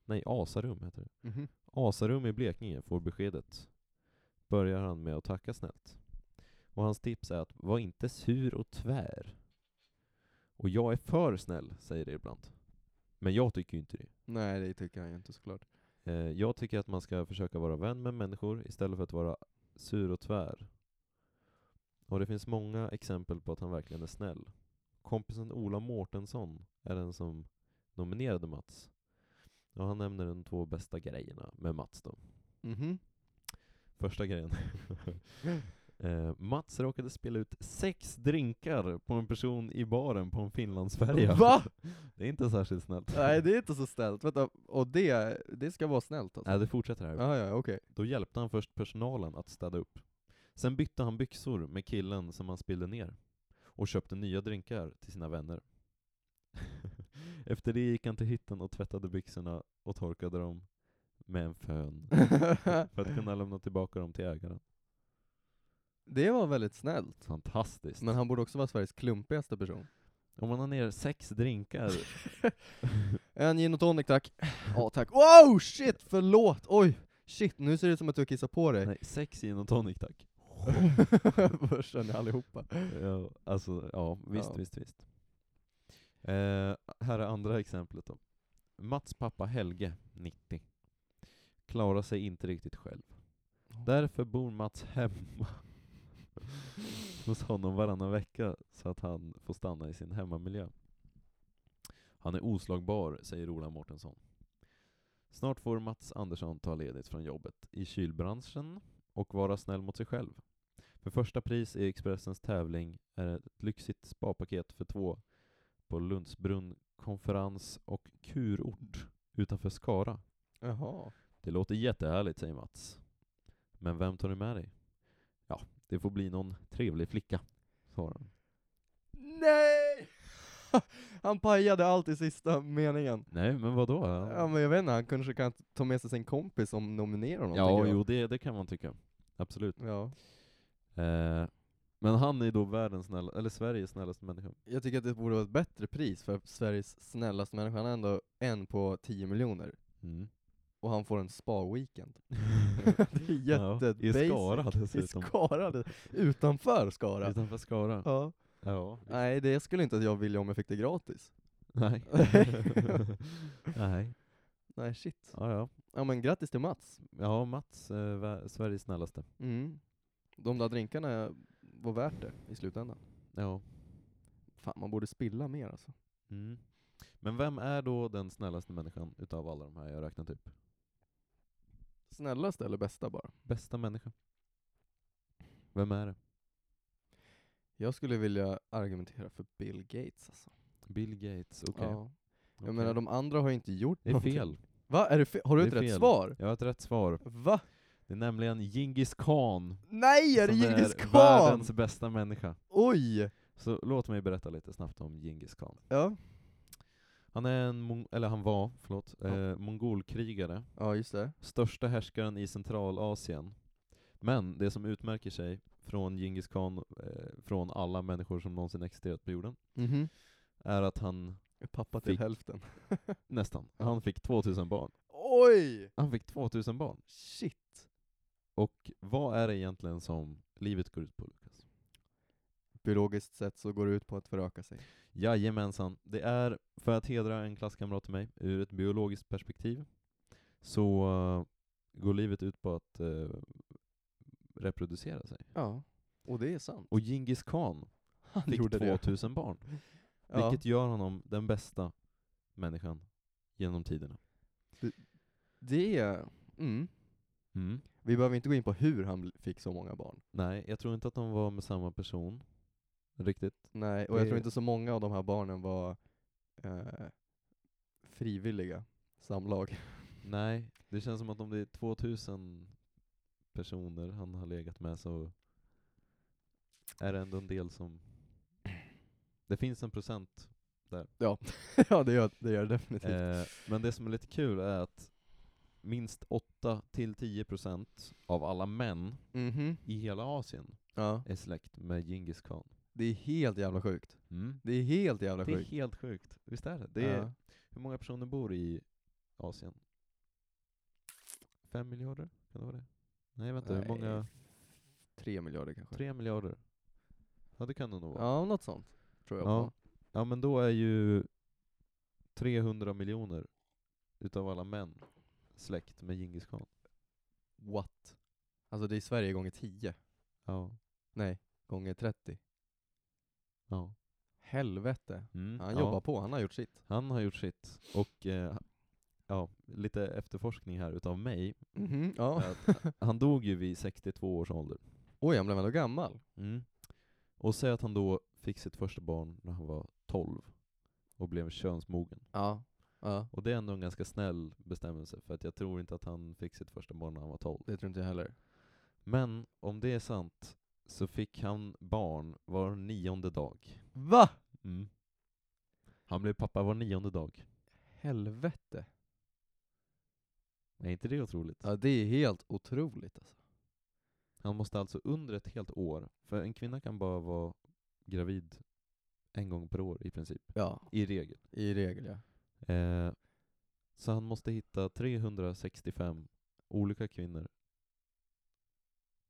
[SPEAKER 1] nej Asarum heter det,
[SPEAKER 2] Mhm.
[SPEAKER 1] Asarum i Blekinge får beskedet börjar han med att tacka snällt. Och hans tips är att var inte sur och tvär. Och jag är för snäll, säger det ibland. Men jag tycker ju inte det.
[SPEAKER 2] Nej, det tycker han ju inte såklart.
[SPEAKER 1] Eh, jag tycker att man ska försöka vara vän med människor istället för att vara sur och tvär. Och det finns många exempel på att han verkligen är snäll. Kompisen Ola Mårtensson är den som nominerade Mats. Och han nämner de två bästa grejerna med Mats då.
[SPEAKER 2] Mhm.
[SPEAKER 1] Första grejen. eh, Mats råkade spela ut sex drinkar på en person i baren på en Finlandsfärja.
[SPEAKER 2] Va?
[SPEAKER 1] Det är inte särskilt snällt.
[SPEAKER 2] Nej, det är inte så snällt. Vänta, och det, det ska vara snällt alltså?
[SPEAKER 1] Nej, det fortsätter här.
[SPEAKER 2] Ja, ja, okej.
[SPEAKER 1] Då hjälpte han först personalen att städa upp. Sen bytte han byxor med killen som han spillde ner och köpte nya drinkar till sina vänner. Efter det gick han till hytten och tvättade byxorna och torkade dem med en fön för att kunna lämna tillbaka dem till ägaren.
[SPEAKER 2] det var väldigt snällt.
[SPEAKER 1] Fantastiskt!
[SPEAKER 2] Men han borde också vara Sveriges klumpigaste person.
[SPEAKER 1] Om man har ner sex drinkar,
[SPEAKER 2] En gin och tonic tack. Ja tack. Wow shit, förlåt! Oj! Shit, nu ser det ut som att du har kissat på dig.
[SPEAKER 1] nej, sex gin och tonic tack.
[SPEAKER 2] Börsen är allihopa.
[SPEAKER 1] Ja, alltså, ja, visst,
[SPEAKER 2] Ja.
[SPEAKER 1] visst, visst. Eh, här är andra exemplet då. Mats pappa Helge, 90, klarar sig inte riktigt själv. Därför bor Mats hemma hos honom varannan vecka så att han får stanna i sin hemmamiljö. Han är oslagbar, säger Ola Mårtensson. Snart får Mats Andersson ta ledigt från jobbet i kylbranschen och vara snäll mot sig själv. För första pris i Expressens tävling är ett lyxigt spapaket för två på Lundsbrunn konferens och kurort utanför Skara.
[SPEAKER 2] Jaha.
[SPEAKER 1] Det låter jättehärligt, säger Mats. Men vem tar du med dig? Ja, det får bli någon trevlig flicka, svarar han.
[SPEAKER 2] Nej! Han pajade allt i sista meningen.
[SPEAKER 1] Nej, men vadå?
[SPEAKER 2] Ja men jag vet inte, han kanske kan ta med sig sin kompis som nominerar honom.
[SPEAKER 1] ja
[SPEAKER 2] tänker jag.
[SPEAKER 1] jo, det, det kan man tycka. Absolut.
[SPEAKER 2] ja.
[SPEAKER 1] Eh, men han är då världens snälla, eller Sveriges snällaste människa.
[SPEAKER 2] Jag tycker att det borde vara ett bättre pris för Sveriges snällaste människa. Han är ändå en på 10 miljoner.
[SPEAKER 1] Mm.
[SPEAKER 2] Och han får en spa-weekend. det är
[SPEAKER 1] Ja,
[SPEAKER 2] jätte
[SPEAKER 1] I Skara
[SPEAKER 2] I
[SPEAKER 1] dessutom.
[SPEAKER 2] Skara. det- Utanför Skara.
[SPEAKER 1] Utanför Skara.
[SPEAKER 2] Ja.
[SPEAKER 1] Ja.
[SPEAKER 2] Nej, det skulle inte jag vilja om jag fick det gratis.
[SPEAKER 1] Nej. Nej.
[SPEAKER 2] Nej, shit.
[SPEAKER 1] Ja, ja.
[SPEAKER 2] Ja men grattis till Mats.
[SPEAKER 1] Ja, Mats, eh, vä- Sveriges snällaste.
[SPEAKER 2] Mm. De där drinkarna var värt det i slutändan.
[SPEAKER 1] Ja.
[SPEAKER 2] Fan, man borde spilla mer alltså.
[SPEAKER 1] Mm. Men vem är då den snällaste människan utav alla de här jag räknat upp?
[SPEAKER 2] Snällaste eller bästa bara?
[SPEAKER 1] Bästa människa? Vem är det?
[SPEAKER 2] Jag skulle vilja argumentera för Bill Gates alltså.
[SPEAKER 1] Bill Gates, okej.
[SPEAKER 2] Ja. Jag
[SPEAKER 1] okej.
[SPEAKER 2] menar de andra har ju inte gjort
[SPEAKER 1] Det är
[SPEAKER 2] någonting.
[SPEAKER 1] fel.
[SPEAKER 2] Va? Är det fe- har du
[SPEAKER 1] Det
[SPEAKER 2] ett
[SPEAKER 1] är
[SPEAKER 2] rätt
[SPEAKER 1] fel.
[SPEAKER 2] svar?
[SPEAKER 1] Jag har ett rätt svar.
[SPEAKER 2] Va?
[SPEAKER 1] Det är nämligen Genghis Khan
[SPEAKER 2] Nej, är det
[SPEAKER 1] som
[SPEAKER 2] Djingis
[SPEAKER 1] är
[SPEAKER 2] Khan?
[SPEAKER 1] världens bästa människa.
[SPEAKER 2] Oj!
[SPEAKER 1] Så låt mig berätta lite snabbt om Genghis Khan.
[SPEAKER 2] Ja.
[SPEAKER 1] Han är en, mong- eller han var, förlåt,
[SPEAKER 2] Ja.
[SPEAKER 1] eh, mongolkrigare
[SPEAKER 2] ja, just det.
[SPEAKER 1] största härskaren i Centralasien. Men det som utmärker sig från Genghis khan, eh, från alla människor som någonsin existerat på jorden,
[SPEAKER 2] Mhm.
[SPEAKER 1] är att han,
[SPEAKER 2] Pappa till
[SPEAKER 1] Fick.
[SPEAKER 2] hälften.
[SPEAKER 1] nästan,
[SPEAKER 2] Ja.
[SPEAKER 1] han fick 2000 barn.
[SPEAKER 2] Oj!
[SPEAKER 1] Han fick 2000 barn.
[SPEAKER 2] Shit.
[SPEAKER 1] Och vad är det egentligen som livet går ut på, Lukas?
[SPEAKER 2] Biologiskt sett så går det ut på att föröka sig.
[SPEAKER 1] Jajamensan, det är, för att hedra en klasskamrat till mig, ur ett biologiskt perspektiv, så eh, går livet ut på att eh, reproducera sig.
[SPEAKER 2] Ja. Och det är sant.
[SPEAKER 1] Och Genghis khan
[SPEAKER 2] Han
[SPEAKER 1] fick 2000 barn.
[SPEAKER 2] Ja.
[SPEAKER 1] Vilket gör honom den bästa människan genom tiderna.
[SPEAKER 2] Det är... Mm. Vi behöver inte gå in på hur han bl- fick så många barn.
[SPEAKER 1] Nej, jag tror inte att de var med samma person. Riktigt.
[SPEAKER 2] Nej, och
[SPEAKER 1] Det-
[SPEAKER 2] jag tror inte så många av de här barnen var eh, frivilliga samlag.
[SPEAKER 1] Nej, det känns som att om det är 2000 personer han har legat med så är det ändå en del som... Det finns en procent.
[SPEAKER 2] ja, det gör det gör det definitivt.
[SPEAKER 1] Eh, men det som är lite kul är att minst 8-10% av alla män
[SPEAKER 2] Mhm.
[SPEAKER 1] i hela Asien
[SPEAKER 2] Ja.
[SPEAKER 1] är släkt med Genghis khan.
[SPEAKER 2] Det är helt jävla sjukt.
[SPEAKER 1] Mm.
[SPEAKER 2] Det är helt jävla
[SPEAKER 1] Det är
[SPEAKER 2] sjukt.
[SPEAKER 1] helt sjukt. Visst är det? det är,
[SPEAKER 2] Ja.
[SPEAKER 1] Hur många personer bor i Asien? Fem miljarder? Kan det vara det? Nej vänta, hur
[SPEAKER 2] Nej,
[SPEAKER 1] många?
[SPEAKER 2] Tre miljarder kanske.
[SPEAKER 1] Tre miljarder? Ja det kan det nog vara.
[SPEAKER 2] Ja, något sånt. Tror jag
[SPEAKER 1] Ja.
[SPEAKER 2] på.
[SPEAKER 1] Ja, men då är ju 300 miljoner utav alla män släkt med Djingis khan.
[SPEAKER 2] What? Alltså det är Sverige gånger 10.
[SPEAKER 1] Ja.
[SPEAKER 2] Nej, gånger 30.
[SPEAKER 1] ja.
[SPEAKER 2] Helvete.
[SPEAKER 1] Mm,
[SPEAKER 2] Han
[SPEAKER 1] ja.
[SPEAKER 2] jobbar på, han har gjort sitt.
[SPEAKER 1] Han har gjort sitt. Och eh, ja, lite efterforskning här utav mig.
[SPEAKER 2] Mhm. Ja.
[SPEAKER 1] är Att han dog ju vid 62 års ålder.
[SPEAKER 2] Oj, han blev ändå gammal.
[SPEAKER 1] Mm. Och säg att han då fick sitt första barn när han var 12 och blev könsmogen.
[SPEAKER 2] Ja. Ja,
[SPEAKER 1] Och det är ändå en ganska snäll bestämmelse, för att jag tror inte att han fick sitt första barn när han var 12.
[SPEAKER 2] det tror inte jag heller.
[SPEAKER 1] Men om det är sant, så fick han barn var nionde dag.
[SPEAKER 2] Va?
[SPEAKER 1] Han blev pappa var nionde dag.
[SPEAKER 2] Helvete.
[SPEAKER 1] Är inte det otroligt?
[SPEAKER 2] Ja, det är helt otroligt alltså.
[SPEAKER 1] Han måste alltså under ett helt år, för en kvinna kan bara vara gravid en gång per år i princip,
[SPEAKER 2] Ja,
[SPEAKER 1] i regel.
[SPEAKER 2] i regel ja.
[SPEAKER 1] Eh, så han måste hitta 365 olika kvinnor.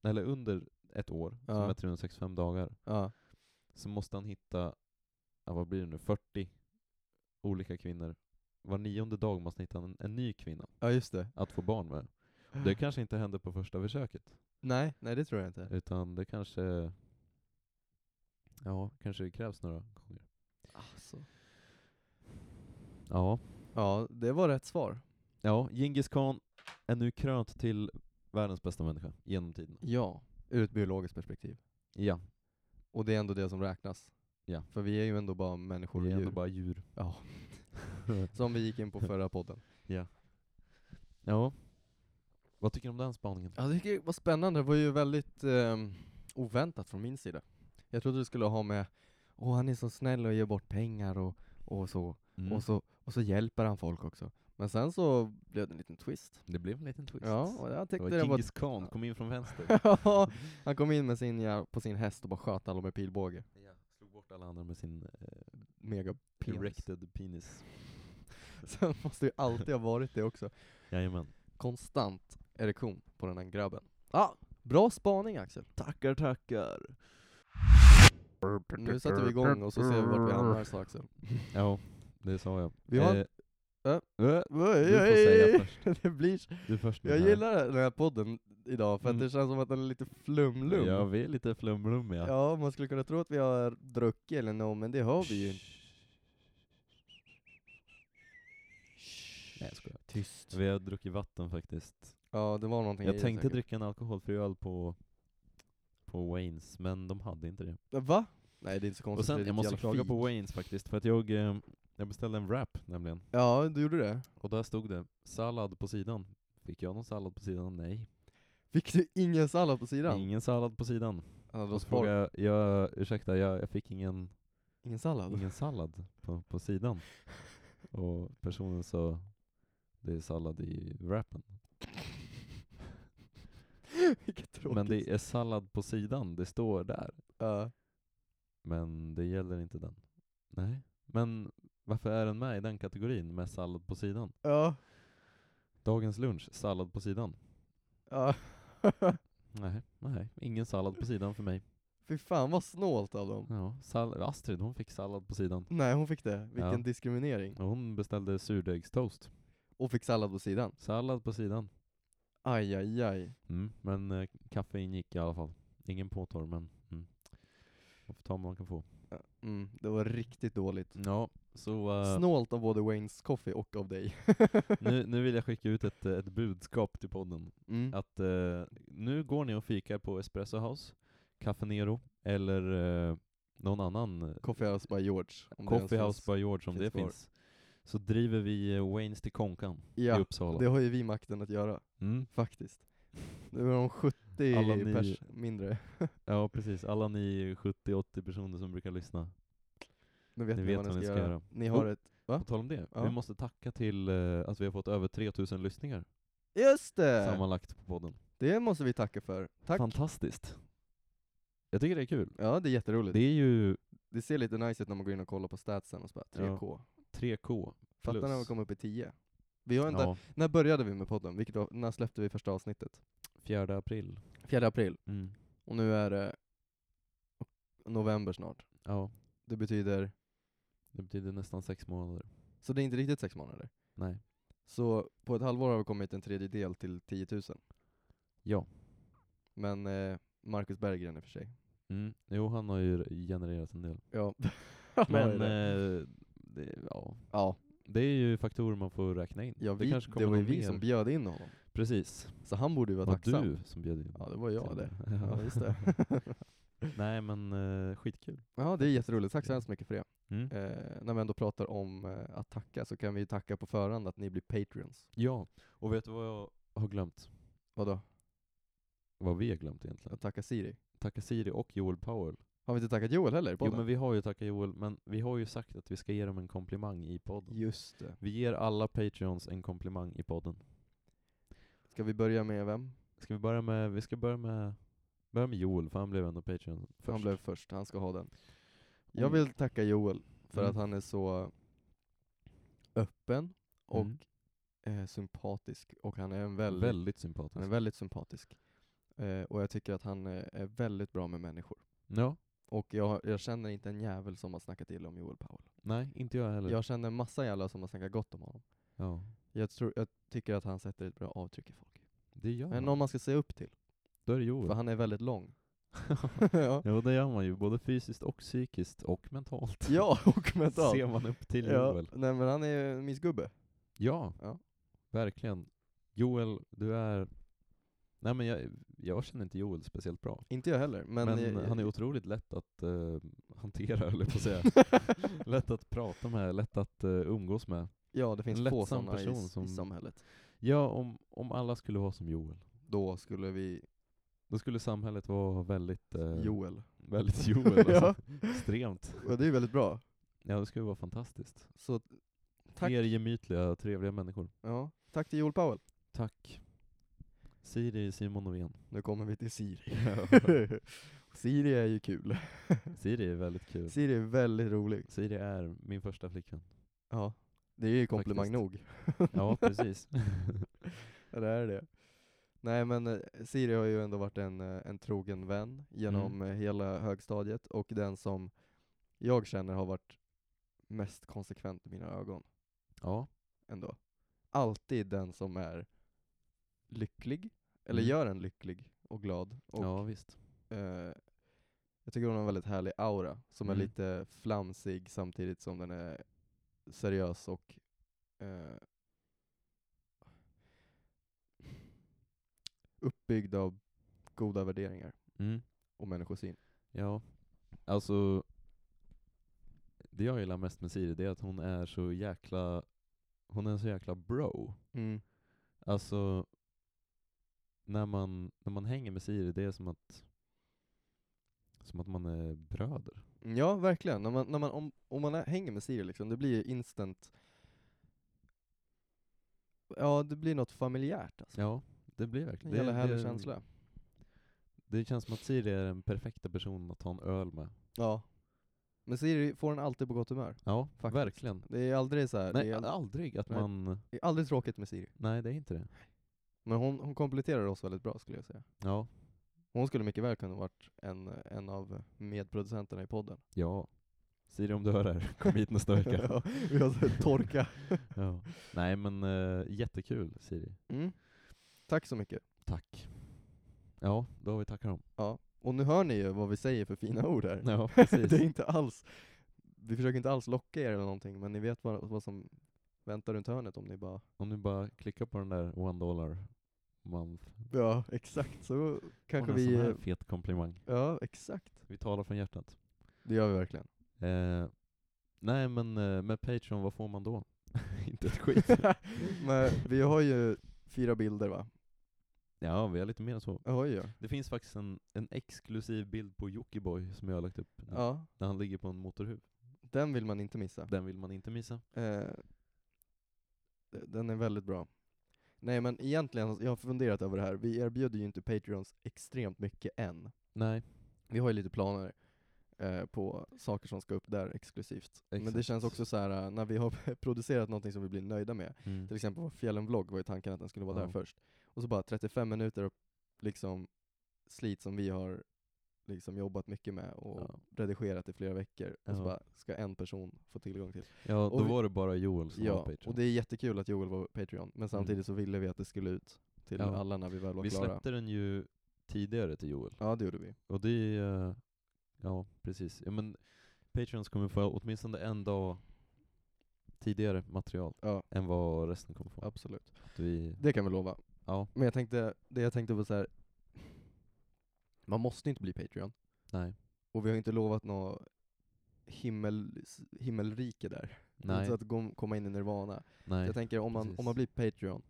[SPEAKER 1] Eller under ett år, som
[SPEAKER 2] Ja.
[SPEAKER 1] är 365 dagar,
[SPEAKER 2] Ja.
[SPEAKER 1] så måste han hitta, ja, vad blir det nu, 40 olika kvinnor. Var nionde dag måste han hitta en, en ny kvinna
[SPEAKER 2] ja, just det.
[SPEAKER 1] att få barn med. Det kanske inte händer på första försöket,
[SPEAKER 2] Nej, nej det tror jag inte.
[SPEAKER 1] utan det kanske, ja, kanske det krävs några gånger. Ja,
[SPEAKER 2] Alltså. Ja, det var rätt svar.
[SPEAKER 1] ja Genghis khan är nu krönt till världens bästa människa genom tiden.
[SPEAKER 2] Ja, ur ett biologiskt perspektiv.
[SPEAKER 1] Ja,
[SPEAKER 2] Och det är ändå det som räknas.
[SPEAKER 1] Ja.
[SPEAKER 2] För vi är ju ändå bara människor och
[SPEAKER 1] vi är
[SPEAKER 2] djur.
[SPEAKER 1] ändå bara djur.
[SPEAKER 2] Ja. Som vi gick in på förra podden.
[SPEAKER 1] Ja. Vad tycker du om den spaningen?
[SPEAKER 2] Ja, det tycker jag var spännande. Det var ju väldigt ehm, oväntat från min sida. Jag trodde du skulle ha med Åh, han är så snäll och ger bort pengar och, och så. Och så. Och så hjälper han folk också. Men sen så blev det en liten twist.
[SPEAKER 1] Det blev en liten twist.
[SPEAKER 2] Ja, och
[SPEAKER 1] det
[SPEAKER 2] jag tyckte
[SPEAKER 1] var
[SPEAKER 2] det var...
[SPEAKER 1] Djingis khan, kom in från vänster.
[SPEAKER 2] Ja, han kom in med sin, jär- på sin häst och bara sköt alla med pilbåge.
[SPEAKER 1] Slog bort alla andra med sin eh,
[SPEAKER 2] Mega penis.
[SPEAKER 1] erected penis.
[SPEAKER 2] Sen måste ju alltid ha varit det också.
[SPEAKER 1] Jajamän.
[SPEAKER 2] Konstant erektion på den här grabben. Ja, bra spaning Axel.
[SPEAKER 1] Tackar, tackar.
[SPEAKER 2] Nu sätter vi igång och så ser vi vart vi hamnar så Axel.
[SPEAKER 1] Ja, det sa jag.
[SPEAKER 2] Vi har-
[SPEAKER 1] Eh,
[SPEAKER 2] Ja.
[SPEAKER 1] eh,
[SPEAKER 2] Du
[SPEAKER 1] säga
[SPEAKER 2] det blir så-
[SPEAKER 1] du först med
[SPEAKER 2] Jag
[SPEAKER 1] den här.
[SPEAKER 2] gillar den här podden idag för att
[SPEAKER 1] Mm.
[SPEAKER 2] det känns som att den är lite flumlum.
[SPEAKER 1] Ja, vi är lite flumrummiga.
[SPEAKER 2] Ja, man skulle kunna tro att vi har druckit eller något, men det har vi ju inte.
[SPEAKER 1] Nej, jag skojar.
[SPEAKER 2] Tyst.
[SPEAKER 1] Vi har druckit vatten faktiskt.
[SPEAKER 2] Ja, det var någonting i
[SPEAKER 1] Jag
[SPEAKER 2] det
[SPEAKER 1] tänkte
[SPEAKER 2] säkert.
[SPEAKER 1] dricka en alkoholfri öl på, på Waynes, men de hade inte det.
[SPEAKER 2] Va? Nej, det är inte så konstigt.
[SPEAKER 1] Och
[SPEAKER 2] det är
[SPEAKER 1] sen,
[SPEAKER 2] ett
[SPEAKER 1] jag måste
[SPEAKER 2] jävla
[SPEAKER 1] klaga
[SPEAKER 2] fik.
[SPEAKER 1] på Waynes faktiskt, för att jag, eh, jag beställde en wrap nämligen.
[SPEAKER 2] Ja, du gjorde det.
[SPEAKER 1] Och där stod det sallad på sidan. Fick jag någon sallad på sidan? Nej.
[SPEAKER 2] Fick du ingen sallad på sidan?
[SPEAKER 1] Ingen sallad på sidan.
[SPEAKER 2] Han hade
[SPEAKER 1] Och så frågade
[SPEAKER 2] sparat.
[SPEAKER 1] jag, jag ursäkta, jag, jag fick ingen,
[SPEAKER 2] Ingen sallad?
[SPEAKER 1] ingen sallad på, på sidan. Och personen sa, det är sallad i wrappen.
[SPEAKER 2] Vilket tråkigt.
[SPEAKER 1] Men det är sallad på sidan, det står där.
[SPEAKER 2] Ja.
[SPEAKER 1] Men det gäller inte den. Nej. Men varför är den med i den kategorin med sallad på sidan?
[SPEAKER 2] Ja.
[SPEAKER 1] Dagens lunch, sallad på sidan.
[SPEAKER 2] Ja.
[SPEAKER 1] Nej, nej. Ingen sallad på sidan för mig.
[SPEAKER 2] Fy fan vad snålt av dem.
[SPEAKER 1] Ja, sall- Astrid hon fick sallad på sidan.
[SPEAKER 2] Nej, hon fick det. Vilken
[SPEAKER 1] Ja.
[SPEAKER 2] diskriminering.
[SPEAKER 1] Och hon beställde surdegstoast.
[SPEAKER 2] Och fick sallad på sidan.
[SPEAKER 1] Sallad på sidan.
[SPEAKER 2] Aj, aj, aj.
[SPEAKER 1] Mm. Men eh, kaffe ingick i alla fall. Ingen påtår, men mm. man får ta vad man kan få.
[SPEAKER 2] Ja, Mm, det var riktigt dåligt.
[SPEAKER 1] Ja, så eh,
[SPEAKER 2] Snålt av både Waynes Coffee och av dig.
[SPEAKER 1] nu, nu vill jag skicka ut ett, eh, ett budskap till podden.
[SPEAKER 2] Mm.
[SPEAKER 1] Att eh, nu går ni och fikar på Espresso House, Café Nero eller eh, någon annan eh,
[SPEAKER 2] Coffee House by George. om det ens
[SPEAKER 1] Coffee House
[SPEAKER 2] finns.
[SPEAKER 1] by George om
[SPEAKER 2] finns
[SPEAKER 1] det
[SPEAKER 2] kvar.
[SPEAKER 1] finns. Så driver vi eh, Waynes till Konkan i
[SPEAKER 2] Ja,
[SPEAKER 1] Uppsala.
[SPEAKER 2] det har ju vi makten att göra,
[SPEAKER 1] Mm.
[SPEAKER 2] faktiskt. Nu är de 70
[SPEAKER 1] Alla ni-
[SPEAKER 2] pers mindre.
[SPEAKER 1] Ja precis, alla ni 70-80 personer som brukar lyssna.
[SPEAKER 2] Nu vet ni, vet vad ni ska, göra. Ni har
[SPEAKER 1] Oh.
[SPEAKER 2] ett... Va?
[SPEAKER 1] På tal om det,
[SPEAKER 2] Ja.
[SPEAKER 1] vi måste tacka till eh, att vi har fått över 3000 lyssningar
[SPEAKER 2] Just det!
[SPEAKER 1] sammanlagt på podden.
[SPEAKER 2] Det måste vi tacka för. Äh. Tack.
[SPEAKER 1] Fantastiskt! Jag tycker det är kul.
[SPEAKER 2] Ja, det är jätteroligt.
[SPEAKER 1] Det
[SPEAKER 2] Det...
[SPEAKER 1] är ju
[SPEAKER 2] ser lite nice ut när man går in och kollar på statsen och så bara 3K.
[SPEAKER 1] 3K
[SPEAKER 2] Fattar när vi
[SPEAKER 1] plus.
[SPEAKER 2] kom upp i 10. Vi har inte...
[SPEAKER 1] Ja,
[SPEAKER 2] När började vi med podden? Vilket var... När släppte vi första avsnittet?
[SPEAKER 1] 4 april.
[SPEAKER 2] 4 april.
[SPEAKER 1] Mm.
[SPEAKER 2] Och nu är det november snart.
[SPEAKER 1] Ja,
[SPEAKER 2] Det betyder...
[SPEAKER 1] det betyder nästan sex månader.
[SPEAKER 2] Så det är inte riktigt sex månader.
[SPEAKER 1] Nej.
[SPEAKER 2] Så på ett halvår har vi kommit en tredjedel till 10 000.
[SPEAKER 1] Ja.
[SPEAKER 2] Men eh, Marcus Berggren i och för sig.
[SPEAKER 1] Mm. Jo, han har ju genererat en del.
[SPEAKER 2] Ja.
[SPEAKER 1] Men,
[SPEAKER 2] det.
[SPEAKER 1] eh, det, ja.
[SPEAKER 2] ja,
[SPEAKER 1] det är ju faktorer man får räkna in.
[SPEAKER 2] ja vi,
[SPEAKER 1] kanske
[SPEAKER 2] det,
[SPEAKER 1] kommer
[SPEAKER 2] var ju
[SPEAKER 1] någon
[SPEAKER 2] vi
[SPEAKER 1] mer.
[SPEAKER 2] som bjöd in honom.
[SPEAKER 1] Precis.
[SPEAKER 2] Så han borde ju vara
[SPEAKER 1] var
[SPEAKER 2] tacksam.
[SPEAKER 1] du som bjöd in.
[SPEAKER 2] Ja, det var jag
[SPEAKER 1] till
[SPEAKER 2] det. Ja, just det.
[SPEAKER 1] Nej men eh, skitkul.
[SPEAKER 2] ja, det är jätteroligt. Tack så hemskt mycket för det.
[SPEAKER 1] Mm.
[SPEAKER 2] Eh, när vi ändå pratar om eh, att tacka så kan vi ju tacka på förhand att ni blir patreons.
[SPEAKER 1] Ja, och vet du vad jag har glömt?
[SPEAKER 2] Vadå?
[SPEAKER 1] Vad vi har glömt egentligen?
[SPEAKER 2] Att tacka Siri?
[SPEAKER 1] Tacka Siri och Joel Powell.
[SPEAKER 2] Har vi inte tackat Joel heller i
[SPEAKER 1] Jo
[SPEAKER 2] podden?
[SPEAKER 1] men vi har ju tackat Joel, men vi har ju sagt att vi ska ge dem en komplimang i podden.
[SPEAKER 2] Just det.
[SPEAKER 1] Vi ger alla Patreons en komplimang i podden.
[SPEAKER 2] Ska vi börja med vem?
[SPEAKER 1] Ska vi börja med, vi ska börja med, börja med Joel, för han blev ändå Patreon först.
[SPEAKER 2] Han blev först, han ska ha den. Jag
[SPEAKER 1] Mm.
[SPEAKER 2] vill tacka Joel för
[SPEAKER 1] Mm.
[SPEAKER 2] att han är så öppen och
[SPEAKER 1] Mm.
[SPEAKER 2] eh, sympatisk och han är en väldigt,
[SPEAKER 1] väldigt
[SPEAKER 2] han är
[SPEAKER 1] sympatisk.
[SPEAKER 2] väldigt sympatisk. Eh, och jag tycker att han eh, är väldigt bra med människor.
[SPEAKER 1] Ja,
[SPEAKER 2] Och jag, jag känner inte en jävel som har snackat illa om Joel Powell.
[SPEAKER 1] nej, inte jag heller.
[SPEAKER 2] Jag känner en massa jävlar som har snackat gott om honom.
[SPEAKER 1] Ja,
[SPEAKER 2] Jag, tror, jag tycker att han sätter ett bra avtryck i folk.
[SPEAKER 1] det gör
[SPEAKER 2] Men
[SPEAKER 1] man.
[SPEAKER 2] någon man ska se upp till,
[SPEAKER 1] Då är det Joel.
[SPEAKER 2] för han är väldigt lång. ja.
[SPEAKER 1] Jo, det gör man ju, både fysiskt och psykiskt och mentalt.
[SPEAKER 2] ja, och mentalt.
[SPEAKER 1] Ser man upp till
[SPEAKER 2] Ja,
[SPEAKER 1] Joel.
[SPEAKER 2] nej men han är ju en mysgubbe.
[SPEAKER 1] Ja,
[SPEAKER 2] Ja.
[SPEAKER 1] verkligen. Joel, du är... Nej men jag, jag känner inte Joel speciellt bra.
[SPEAKER 2] Inte jag heller, men... eh,
[SPEAKER 1] Men, eh,
[SPEAKER 2] jag,
[SPEAKER 1] han är otroligt lätt att eh, hantera, eller på att säga. lätt att prata med, lätt att eh, umgås med.
[SPEAKER 2] ja, det finns
[SPEAKER 1] en
[SPEAKER 2] få
[SPEAKER 1] lättsam
[SPEAKER 2] sådana i,
[SPEAKER 1] person
[SPEAKER 2] s- i
[SPEAKER 1] som-
[SPEAKER 2] samhället.
[SPEAKER 1] Ja, om, om alla skulle vara som Joel,
[SPEAKER 2] Då skulle vi...
[SPEAKER 1] då skulle samhället vara väldigt eh,
[SPEAKER 2] Joel.
[SPEAKER 1] väldigt Joel. Alltså.
[SPEAKER 2] Ja.
[SPEAKER 1] Extremt.
[SPEAKER 2] Och det är ju väldigt bra.
[SPEAKER 1] Ja, det skulle vara fantastiskt.
[SPEAKER 2] Så Tack.
[SPEAKER 1] Fler gemytliga, trevliga människor.
[SPEAKER 2] ja, tack till Joel Powell.
[SPEAKER 1] Tack. Siri Simon Norén.
[SPEAKER 2] Nu kommer vi till Siri. Siri är ju kul.
[SPEAKER 1] Siri är väldigt kul.
[SPEAKER 2] Siri är väldigt rolig.
[SPEAKER 1] Siri är min första flickvän.
[SPEAKER 2] Ja, det är ju komplimang
[SPEAKER 1] Faktiskt.
[SPEAKER 2] nog.
[SPEAKER 1] Ja, precis.
[SPEAKER 2] Ja, det är det. Nej men eh, Siri har ju ändå varit en, eh, en trogen vän genom
[SPEAKER 1] Mm.
[SPEAKER 2] eh, hela högstadiet och den som jag känner har varit mest konsekvent i mina ögon
[SPEAKER 1] ja.
[SPEAKER 2] ändå. Alltid den som är lycklig, eller
[SPEAKER 1] Mm.
[SPEAKER 2] gör en lycklig och glad. Och,
[SPEAKER 1] ja, visst.
[SPEAKER 2] eh, jag tycker hon har en väldigt härlig aura som är
[SPEAKER 1] Mm.
[SPEAKER 2] lite flamsig samtidigt som den är seriös och eh, uppbyggd av goda värderingar
[SPEAKER 1] Mm.
[SPEAKER 2] och människosyn.
[SPEAKER 1] Ja. Alltså, det jag gillar mest med Siri det är att hon är så jäkla, hon är en så jäkla bro. Alltså, när man, när man hänger med Siri, det är som att, som att man är bröder.
[SPEAKER 2] Ja, verkligen. När man, när man, om, om man är- hänger med Siri liksom, det blir ju instant Ja, det blir något familjärt alltså.
[SPEAKER 1] Ja, det blir
[SPEAKER 2] En
[SPEAKER 1] verkligen
[SPEAKER 2] jävla
[SPEAKER 1] det,
[SPEAKER 2] härlig
[SPEAKER 1] det,
[SPEAKER 2] känsla.
[SPEAKER 1] Det känns som att Siri är den perfekta personen att ta en öl med.
[SPEAKER 2] Ja. Men Siri får en alltid på gott humör.
[SPEAKER 1] Ja,
[SPEAKER 2] Faktiskt.
[SPEAKER 1] verkligen.
[SPEAKER 2] Det är aldrig så här,
[SPEAKER 1] Nej,
[SPEAKER 2] det är
[SPEAKER 1] al-
[SPEAKER 2] aldrig,
[SPEAKER 1] aldrig att
[SPEAKER 2] Nej.
[SPEAKER 1] man...
[SPEAKER 2] det är aldrig tråkigt med Siri.
[SPEAKER 1] Nej, det är inte det.
[SPEAKER 2] Men hon, hon kompletterar oss väldigt bra skulle jag säga.
[SPEAKER 1] Ja,
[SPEAKER 2] Hon skulle mycket väl kunna varit en, en av medproducenterna i podden.
[SPEAKER 1] ja. Siri om du hör det här, kom hit nästa vecka.
[SPEAKER 2] Ja, vi har så här torka.
[SPEAKER 1] ja. Nej men eh, jättekul Siri.
[SPEAKER 2] Mm. Tack så mycket.
[SPEAKER 1] Tack. Ja, då har vi tackat dem.
[SPEAKER 2] Ja. Och nu hör ni ju vad vi säger för fina ord här.
[SPEAKER 1] Ja,
[SPEAKER 2] det är
[SPEAKER 1] precis.
[SPEAKER 2] inte alls, vi försöker inte alls locka er eller någonting, men ni vet vad, vad som väntar runt hörnet om ni bara
[SPEAKER 1] om du bara klickar på den där one dollar month.
[SPEAKER 2] Ja, exakt. Så kanske
[SPEAKER 1] Och en sån
[SPEAKER 2] vi...
[SPEAKER 1] här fet komplimang.
[SPEAKER 2] Ja, exakt.
[SPEAKER 1] Vi talar från hjärtat.
[SPEAKER 2] Det gör vi verkligen.
[SPEAKER 1] Eh, nej men eh, med Patreon, vad får man då? inte ett skit.
[SPEAKER 2] Men vi har ju fyra bilder va?
[SPEAKER 1] ja, vi har lite mer än så.
[SPEAKER 2] Oj, ja.
[SPEAKER 1] Det finns faktiskt en, en exklusiv bild på Jockiboi som jag har lagt upp.
[SPEAKER 2] ja.
[SPEAKER 1] Där han ligger på en motorhuv.
[SPEAKER 2] Den vill man inte missa.
[SPEAKER 1] Den vill man inte missa.
[SPEAKER 2] Eh, den är väldigt bra. Nej men egentligen, jag har funderat över det här, vi erbjuder ju inte Patreons extremt mycket än.
[SPEAKER 1] Nej.
[SPEAKER 2] Vi har ju lite planer eh, på saker som ska upp där exklusivt. Men det
[SPEAKER 1] Exakt.
[SPEAKER 2] känns också så här eh, när vi har producerat någonting som vi blir nöjda med,
[SPEAKER 1] Mm.
[SPEAKER 2] till exempel vår fjällenvlogg var ju tanken att den skulle vara där
[SPEAKER 1] Ja.
[SPEAKER 2] först. Och så bara 35 minuter av liksom slit som vi har liksom jobbat mycket med och
[SPEAKER 1] Ja.
[SPEAKER 2] redigerat i flera veckor, och så
[SPEAKER 1] Ja.
[SPEAKER 2] bara ska en person få tillgång till.
[SPEAKER 1] Ja,
[SPEAKER 2] och
[SPEAKER 1] då
[SPEAKER 2] vi-
[SPEAKER 1] var det bara Joel som var
[SPEAKER 2] Ja,
[SPEAKER 1] Patreon. Mm.
[SPEAKER 2] och det är jättekul att Joel var Patreon, men samtidigt så ville vi att det skulle ut till
[SPEAKER 1] Ja.
[SPEAKER 2] alla när vi väl var
[SPEAKER 1] vi
[SPEAKER 2] klara.
[SPEAKER 1] släppte den ju tidigare till Joel.
[SPEAKER 2] Ja, det gjorde vi.
[SPEAKER 1] Och det är, eh, ja precis. Ja, men Patreons kommer få åtminstone en dag tidigare material
[SPEAKER 2] Ja,
[SPEAKER 1] än vad resten kommer få.
[SPEAKER 2] absolut.
[SPEAKER 1] Att vi,
[SPEAKER 2] Det kan vi lova.
[SPEAKER 1] ja,
[SPEAKER 2] Men jag tänkte, det jag tänkte var så här. man måste inte bli Patreon,
[SPEAKER 1] nej,
[SPEAKER 2] och vi har inte lovat något himmel, himmelrike där.
[SPEAKER 1] nej,
[SPEAKER 2] Så att gå, komma in i nirvana.
[SPEAKER 1] nej.
[SPEAKER 2] Jag tänker om man, om man blir
[SPEAKER 1] precis.
[SPEAKER 2] Patreon,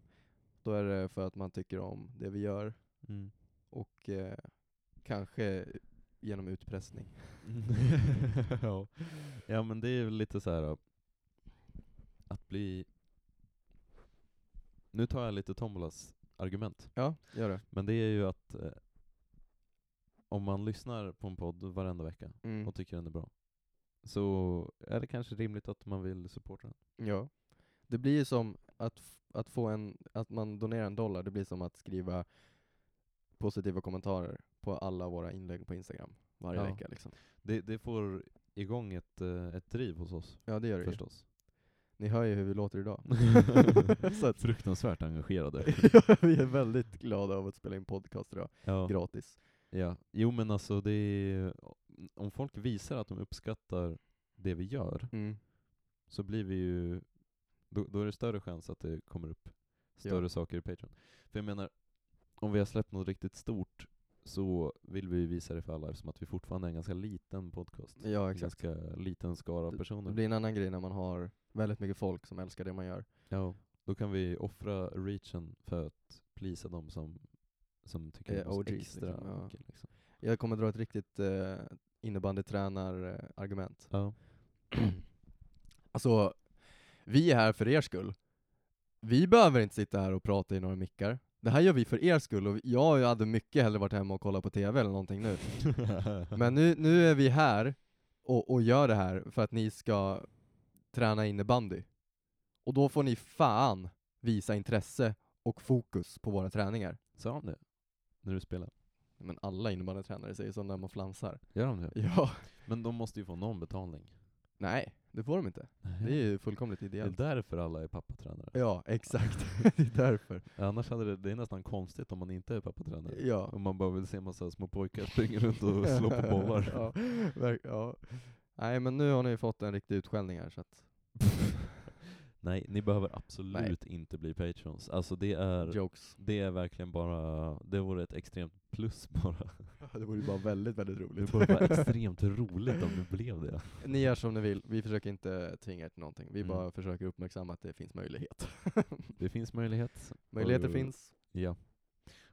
[SPEAKER 2] då är det för att man tycker om det vi gör
[SPEAKER 1] Mm.
[SPEAKER 2] och eh, kanske genom utpressning.
[SPEAKER 1] Mm. ja. ja men det är väl lite så här eh, att bli Nu tar jag lite Tombolas argument,
[SPEAKER 2] Ja, gör det.
[SPEAKER 1] men det är ju att eh, om man lyssnar på en podd varenda vecka
[SPEAKER 2] Mm.
[SPEAKER 1] och tycker den är bra så är det kanske rimligt att man vill supporta den.
[SPEAKER 2] Ja. Det blir ju som att, f- att få en, att man donerar en dollar, det blir som att skriva positiva kommentarer på alla våra inlägg på Instagram varje
[SPEAKER 1] Ja.
[SPEAKER 2] vecka. Liksom.
[SPEAKER 1] Det, det får igång ett, eh, ett driv hos oss,
[SPEAKER 2] Ja, det gör det ju.
[SPEAKER 1] förstås.
[SPEAKER 2] Ni hör ju hur vi låter idag. Så att,
[SPEAKER 1] Fruktansvärt engagerade.
[SPEAKER 2] vi är väldigt glada av att spela in podcast idag,
[SPEAKER 1] ja.
[SPEAKER 2] gratis.
[SPEAKER 1] Ja, jo men alltså det är, om folk visar att de uppskattar det vi gör
[SPEAKER 2] Mm.
[SPEAKER 1] så blir vi ju, då, då är det större chans att det kommer upp större
[SPEAKER 2] Ja.
[SPEAKER 1] saker i Patreon. För jag menar, om vi har släppt något riktigt stort så vill vi ju visa det för alla eftersom att vi fortfarande är en ganska liten podcast.
[SPEAKER 2] Ja,
[SPEAKER 1] en
[SPEAKER 2] exakt.
[SPEAKER 1] ganska liten skara av personer.
[SPEAKER 2] Det blir en annan grej när man har väldigt mycket folk som älskar det man gör.
[SPEAKER 1] ja. Då kan vi offra reachen för att plisa de som, som tycker
[SPEAKER 2] Eh,
[SPEAKER 1] om oss
[SPEAKER 2] OGs,
[SPEAKER 1] extra
[SPEAKER 2] liksom, ja.
[SPEAKER 1] mycket. Liksom.
[SPEAKER 2] Jag kommer dra ett riktigt eh, innebandytränar-argument.
[SPEAKER 1] Ja.
[SPEAKER 2] Alltså, vi är här för er skull. Vi behöver inte sitta här och prata i några mickar. Det här gör vi för er skull och jag hade mycket hellre varit hemma och kollat på TV eller någonting nu. Men nu, nu är vi här och, och gör det här för att ni ska träna innebandy. Och då får ni fan visa intresse och fokus på våra träningar.
[SPEAKER 1] Sa de det? När du spelar?
[SPEAKER 2] Men alla innebandytränare säger så när man flamsar.
[SPEAKER 1] Gör de det?
[SPEAKER 2] Ja.
[SPEAKER 1] Men de måste ju få någon betalning.
[SPEAKER 2] Nej, det får de inte. Det är ju fullkomligt
[SPEAKER 1] Det är
[SPEAKER 2] ideellt.
[SPEAKER 1] därför alla är pappatränare.
[SPEAKER 2] Ja, exakt. det är därför.
[SPEAKER 1] Annars hade det, det är nästan konstigt om man inte är pappatränare.
[SPEAKER 2] Ja.
[SPEAKER 1] Om man bara vill se massa små pojkar springa runt och slå på bollar.
[SPEAKER 2] ja, verk- ja. Nej, men nu har ni fått en riktig utskällning här så att...
[SPEAKER 1] Nej, ni behöver absolut inte bli patrons. Alltså det är,
[SPEAKER 2] Jokes.
[SPEAKER 1] det är verkligen bara, det vore ett extremt plus bara.
[SPEAKER 2] Det vore ju bara väldigt, väldigt
[SPEAKER 1] Det
[SPEAKER 2] roligt.
[SPEAKER 1] vore bara extremt roligt om det blev det.
[SPEAKER 2] ni gör som ni vill. Vi försöker inte tvinga er till någonting. Vi
[SPEAKER 1] Mm.
[SPEAKER 2] bara försöker uppmärksamma att det finns möjlighet.
[SPEAKER 1] Det finns möjlighet.
[SPEAKER 2] Möjligheter
[SPEAKER 1] Och-
[SPEAKER 2] finns.
[SPEAKER 1] Ja.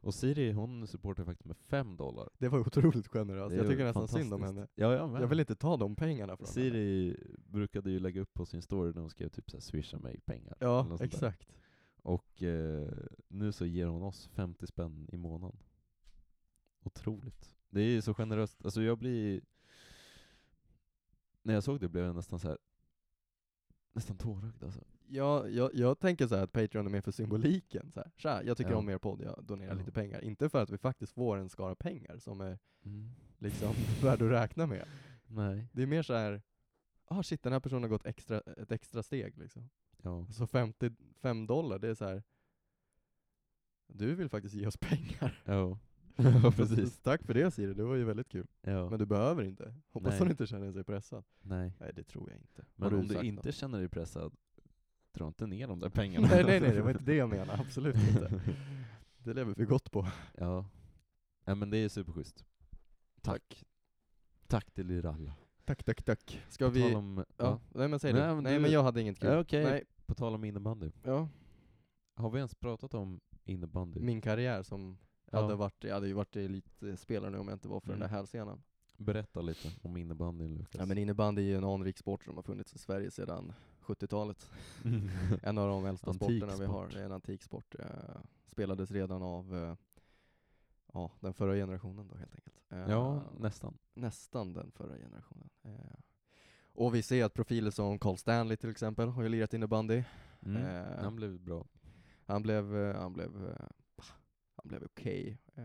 [SPEAKER 1] Och Siri hon supportar faktiskt med fem dollar. Alltså,
[SPEAKER 2] Det var otroligt generöst.
[SPEAKER 1] Det
[SPEAKER 2] Jag
[SPEAKER 1] är
[SPEAKER 2] tycker nästan synd om
[SPEAKER 1] fantastiskt.
[SPEAKER 2] henne.
[SPEAKER 1] Ja, jag, med.
[SPEAKER 2] Jag vill inte ta de pengarna från henne.
[SPEAKER 1] Siri brukade ju lägga upp på sin story när hon skrev typ såhär 'swisha mig pengar' eller
[SPEAKER 2] Ja,
[SPEAKER 1] något sånt där.
[SPEAKER 2] exakt.
[SPEAKER 1] Och eh, nu så ger hon oss 50 spänn i månaden. Otroligt. Det är ju så generöst. Alltså jag blir... När jag såg det blev jag nästan så här. nästan tårögd alltså.
[SPEAKER 2] Ja, jag, jag tänker så här att Patreon är mer för symboliken. Så här. Tja, jag tycker
[SPEAKER 1] Ja.
[SPEAKER 2] om er podd, jag donerar
[SPEAKER 1] Ja.
[SPEAKER 2] lite pengar. Inte för att vi faktiskt får en skara pengar som är
[SPEAKER 1] Mm.
[SPEAKER 2] liksom värd att räkna med.
[SPEAKER 1] Nej.
[SPEAKER 2] Det är mer så här, ah shit den här personen har gått extra, ett extra steg liksom.
[SPEAKER 1] Ja.
[SPEAKER 2] Så 55 dollar, det är så här. du vill faktiskt ge oss pengar.
[SPEAKER 1] Ja. ja, precis.
[SPEAKER 2] Så Tack för det Siri, det var ju väldigt kul.
[SPEAKER 1] Ja.
[SPEAKER 2] Men du behöver inte. Hoppas
[SPEAKER 1] Nej.
[SPEAKER 2] hon inte känner sig pressad.
[SPEAKER 1] nej.
[SPEAKER 2] Nej det tror jag inte. Har
[SPEAKER 1] Men om du
[SPEAKER 2] sagt
[SPEAKER 1] inte
[SPEAKER 2] något?
[SPEAKER 1] känner dig pressad, dra inte ner de där pengarna.
[SPEAKER 2] nej nej nej, det var inte det jag menade, absolut inte. Det lever vi gott på.
[SPEAKER 1] Ja. ja men det är superschysst. Tack. Tack till er alla.
[SPEAKER 2] Tack tack tack. Ska
[SPEAKER 1] På
[SPEAKER 2] vi...
[SPEAKER 1] tal om,
[SPEAKER 2] Ja,
[SPEAKER 1] ja.
[SPEAKER 2] nej men säg
[SPEAKER 1] Nej,
[SPEAKER 2] det.
[SPEAKER 1] men
[SPEAKER 2] Nej
[SPEAKER 1] du-
[SPEAKER 2] men jag hade inget kul.
[SPEAKER 1] Ja, okej.
[SPEAKER 2] Nej,
[SPEAKER 1] På tal om innebandy.
[SPEAKER 2] ja.
[SPEAKER 1] Har vi ens pratat om innebandy?
[SPEAKER 2] Min karriär som hade
[SPEAKER 1] Typ. Ja.
[SPEAKER 2] varit, jag hade ju varit elitspelare nu om jag inte var för den
[SPEAKER 1] Mm.
[SPEAKER 2] där hälsenan.
[SPEAKER 1] Berätta lite om innebandyn Lukas.
[SPEAKER 2] Ja, men innebandy är ju en anrik sport som har funnits i Sverige sedan 70-talet.
[SPEAKER 1] Mm.
[SPEAKER 2] En av de äldsta
[SPEAKER 1] Antik
[SPEAKER 2] sporterna vi har.
[SPEAKER 1] sport.
[SPEAKER 2] Det är en antiksport. Eh, spelades redan av eh, ja, den förra generationen då helt enkelt. Eh,
[SPEAKER 1] ja, nästan.
[SPEAKER 2] nästan den förra generationen. Eh, och vi ser att profiler som Carl Stanley till exempel har ju lirat innebandy.
[SPEAKER 1] Mm.
[SPEAKER 2] Eh,
[SPEAKER 1] Han blev bra.
[SPEAKER 2] Han blev, eh, han blev, eh, han blev okej. Eh,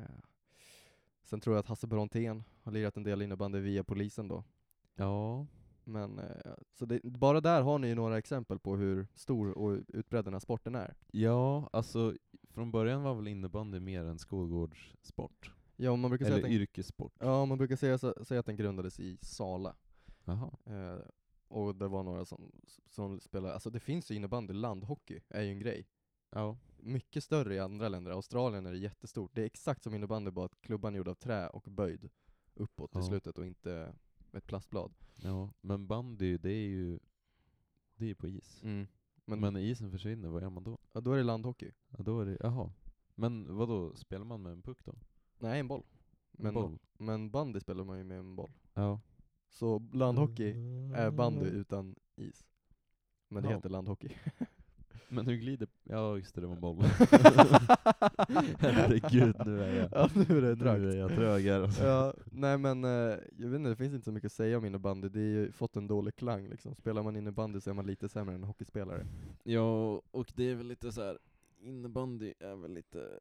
[SPEAKER 2] Sen tror jag att Hasse Brontén har lirat en del innebandy via polisen då.
[SPEAKER 1] Ja,
[SPEAKER 2] Men, eh, så det, bara där har ni ju några exempel på hur stor och utbredd den här sporten är.
[SPEAKER 1] ja alltså från början var väl innebandy mer en skolgårdssport?
[SPEAKER 2] Ja, och man brukar säga, att
[SPEAKER 1] Eller
[SPEAKER 2] den,
[SPEAKER 1] yrkessport?
[SPEAKER 2] ja, man brukar säga, så- säga att den grundades i Sala.
[SPEAKER 1] Jaha.
[SPEAKER 2] Eh, och det var några som, som spelade, alltså det finns ju innebandy, landhockey är ju en grej.
[SPEAKER 1] Ja.
[SPEAKER 2] Mycket större i andra länder, Australien är det jättestort. Det är exakt som innebandy, bara att klubban är gjord av trä och böjd uppåt i
[SPEAKER 1] Ja.
[SPEAKER 2] slutet och inte ett plastblad.
[SPEAKER 1] ja. Men bandy, det är ju det är ju på is.
[SPEAKER 2] Men,
[SPEAKER 1] Mm. Men när isen försvinner, vad gör man då?
[SPEAKER 2] ja, då är det landhockey.
[SPEAKER 1] Ja, då är det, jaha. Men vad då spelar man med en puck då?
[SPEAKER 2] Nej, en boll. Men,
[SPEAKER 1] En boll?
[SPEAKER 2] men bandy spelar man ju med en boll.
[SPEAKER 1] Ja.
[SPEAKER 2] Så landhockey är bandy utan is. Men det
[SPEAKER 1] Ja.
[SPEAKER 2] heter landhockey.
[SPEAKER 1] Men hur glider... Ja just det, det var en boll. Herregud, nu är jag-
[SPEAKER 2] Ja, nu är det trögt.
[SPEAKER 1] nu är jag trög här alltså.
[SPEAKER 2] Ja, nej men eh, jag vet inte, det finns inte så mycket att säga om innebandy. Det har ju fått en dålig klang liksom. Spelar man innebandy så är man lite sämre än hockeyspelare.
[SPEAKER 1] Ja, och det är väl lite så här. innebandy är väl lite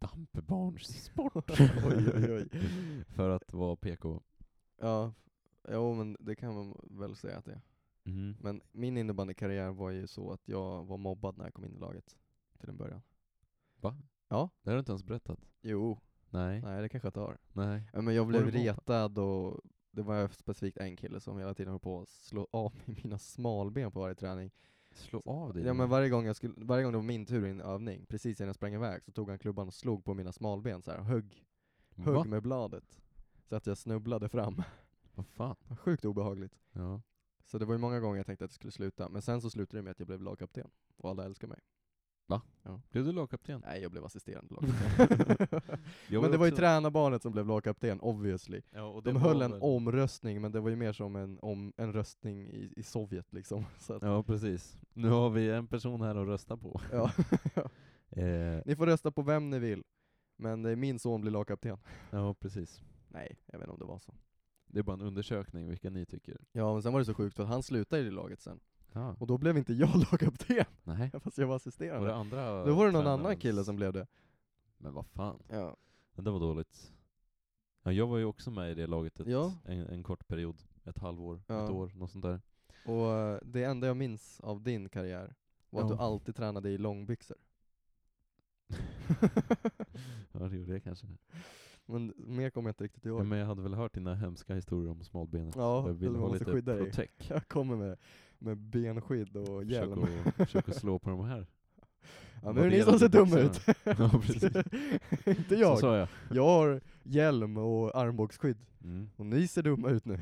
[SPEAKER 1] dampbarnssport.
[SPEAKER 2] Oj, oj, oj.
[SPEAKER 1] För att vara PK.
[SPEAKER 2] Ja, jo men det kan man väl säga att det är.
[SPEAKER 1] Mhm.
[SPEAKER 2] Men min innebandykarriär var ju så att jag var mobbad när jag kom in i laget till en början.
[SPEAKER 1] Va?
[SPEAKER 2] Ja.
[SPEAKER 1] Det har du inte ens berättat.
[SPEAKER 2] Jo,
[SPEAKER 1] Nej.
[SPEAKER 2] nej det kanske jag inte har.
[SPEAKER 1] Nej.
[SPEAKER 2] Ja, Men jag
[SPEAKER 1] Var du
[SPEAKER 2] blev
[SPEAKER 1] mobbad?
[SPEAKER 2] retad och det var specifikt en kille som hela tiden höll på att slå av mig mina smalben på varje träning.
[SPEAKER 1] Slå av dig.
[SPEAKER 2] Ja men varje gång, jag skulle, varje gång det var min tur i en övning, precis innan jag sprang iväg, så tog han klubban och slog på mina smalben så här, och högg, högg
[SPEAKER 1] Va?
[SPEAKER 2] med bladet. Så att jag snubblade fram.
[SPEAKER 1] Vad fan?
[SPEAKER 2] Sjukt obehagligt.
[SPEAKER 1] Ja.
[SPEAKER 2] Så det var ju många gånger jag tänkte att det skulle sluta, men sen så slutade det med att jag blev lagkapten. Och alla älskar mig.
[SPEAKER 1] Blev du lagkapten?
[SPEAKER 2] Nej, jag blev assisterande lagkapten.
[SPEAKER 1] Jag
[SPEAKER 2] men det var ju
[SPEAKER 1] också-
[SPEAKER 2] tränarbarnet som blev lagkapten, obviously.
[SPEAKER 1] Ja, och
[SPEAKER 2] De
[SPEAKER 1] det
[SPEAKER 2] höll
[SPEAKER 1] var
[SPEAKER 2] en
[SPEAKER 1] väl-
[SPEAKER 2] omröstning, men det var ju mer som en, om, en röstning i, i Sovjet liksom. Så att,
[SPEAKER 1] Ja, precis. Nu har vi en person här att rösta på.
[SPEAKER 2] ja.
[SPEAKER 1] Eh,
[SPEAKER 2] ni får rösta på vem ni vill, men eh, min son blir lagkapten.
[SPEAKER 1] ja, precis.
[SPEAKER 2] Nej, jag vet inte om det var så.
[SPEAKER 1] Det är bara en undersökning vilka ni tycker.
[SPEAKER 2] Ja, men sen var det så sjukt för att han slutade i det laget sen.
[SPEAKER 1] Ja.
[SPEAKER 2] Och då blev inte jag lagkapten,
[SPEAKER 1] Nej.
[SPEAKER 2] fast jag var
[SPEAKER 1] Var det
[SPEAKER 2] assisterande.
[SPEAKER 1] andra
[SPEAKER 2] Då var det någon
[SPEAKER 1] tränaren?
[SPEAKER 2] annan kille som blev det.
[SPEAKER 1] Men vad fan.
[SPEAKER 2] Ja.
[SPEAKER 1] Det där var dåligt. Ja, jag var ju också med i det laget ett,
[SPEAKER 2] Ja.
[SPEAKER 1] en, en kort period. Ett halvår,
[SPEAKER 2] Ja.
[SPEAKER 1] ett år, något sånt där.
[SPEAKER 2] Och eh, det enda jag minns av din karriär var att
[SPEAKER 1] Ja.
[SPEAKER 2] du alltid tränade i långbyxor.
[SPEAKER 1] Ja, det gjorde jag kanske.
[SPEAKER 2] Men mer kommer jag inte riktigt
[SPEAKER 1] Ja,
[SPEAKER 2] ihåg.
[SPEAKER 1] men jag hade väl hört dina hemska historier om smalbenet.
[SPEAKER 2] Ja,
[SPEAKER 1] jag ville
[SPEAKER 2] man
[SPEAKER 1] ha
[SPEAKER 2] måste
[SPEAKER 1] lite
[SPEAKER 2] skydda dig.
[SPEAKER 1] protect.
[SPEAKER 2] Jag kommer med, med benskydd och
[SPEAKER 1] Försök
[SPEAKER 2] hjälm.
[SPEAKER 1] att, försök att slå på de här.
[SPEAKER 2] Ja,
[SPEAKER 1] vad
[SPEAKER 2] nu är det ni
[SPEAKER 1] det
[SPEAKER 2] som ser
[SPEAKER 1] gäller
[SPEAKER 2] dumma ut.
[SPEAKER 1] byxorna. Ja, precis.
[SPEAKER 2] inte
[SPEAKER 1] Så
[SPEAKER 2] jag.
[SPEAKER 1] sa jag.
[SPEAKER 2] Jag har hjälm och armbågsskydd.
[SPEAKER 1] Mm.
[SPEAKER 2] Och ni ser dumma ut nu.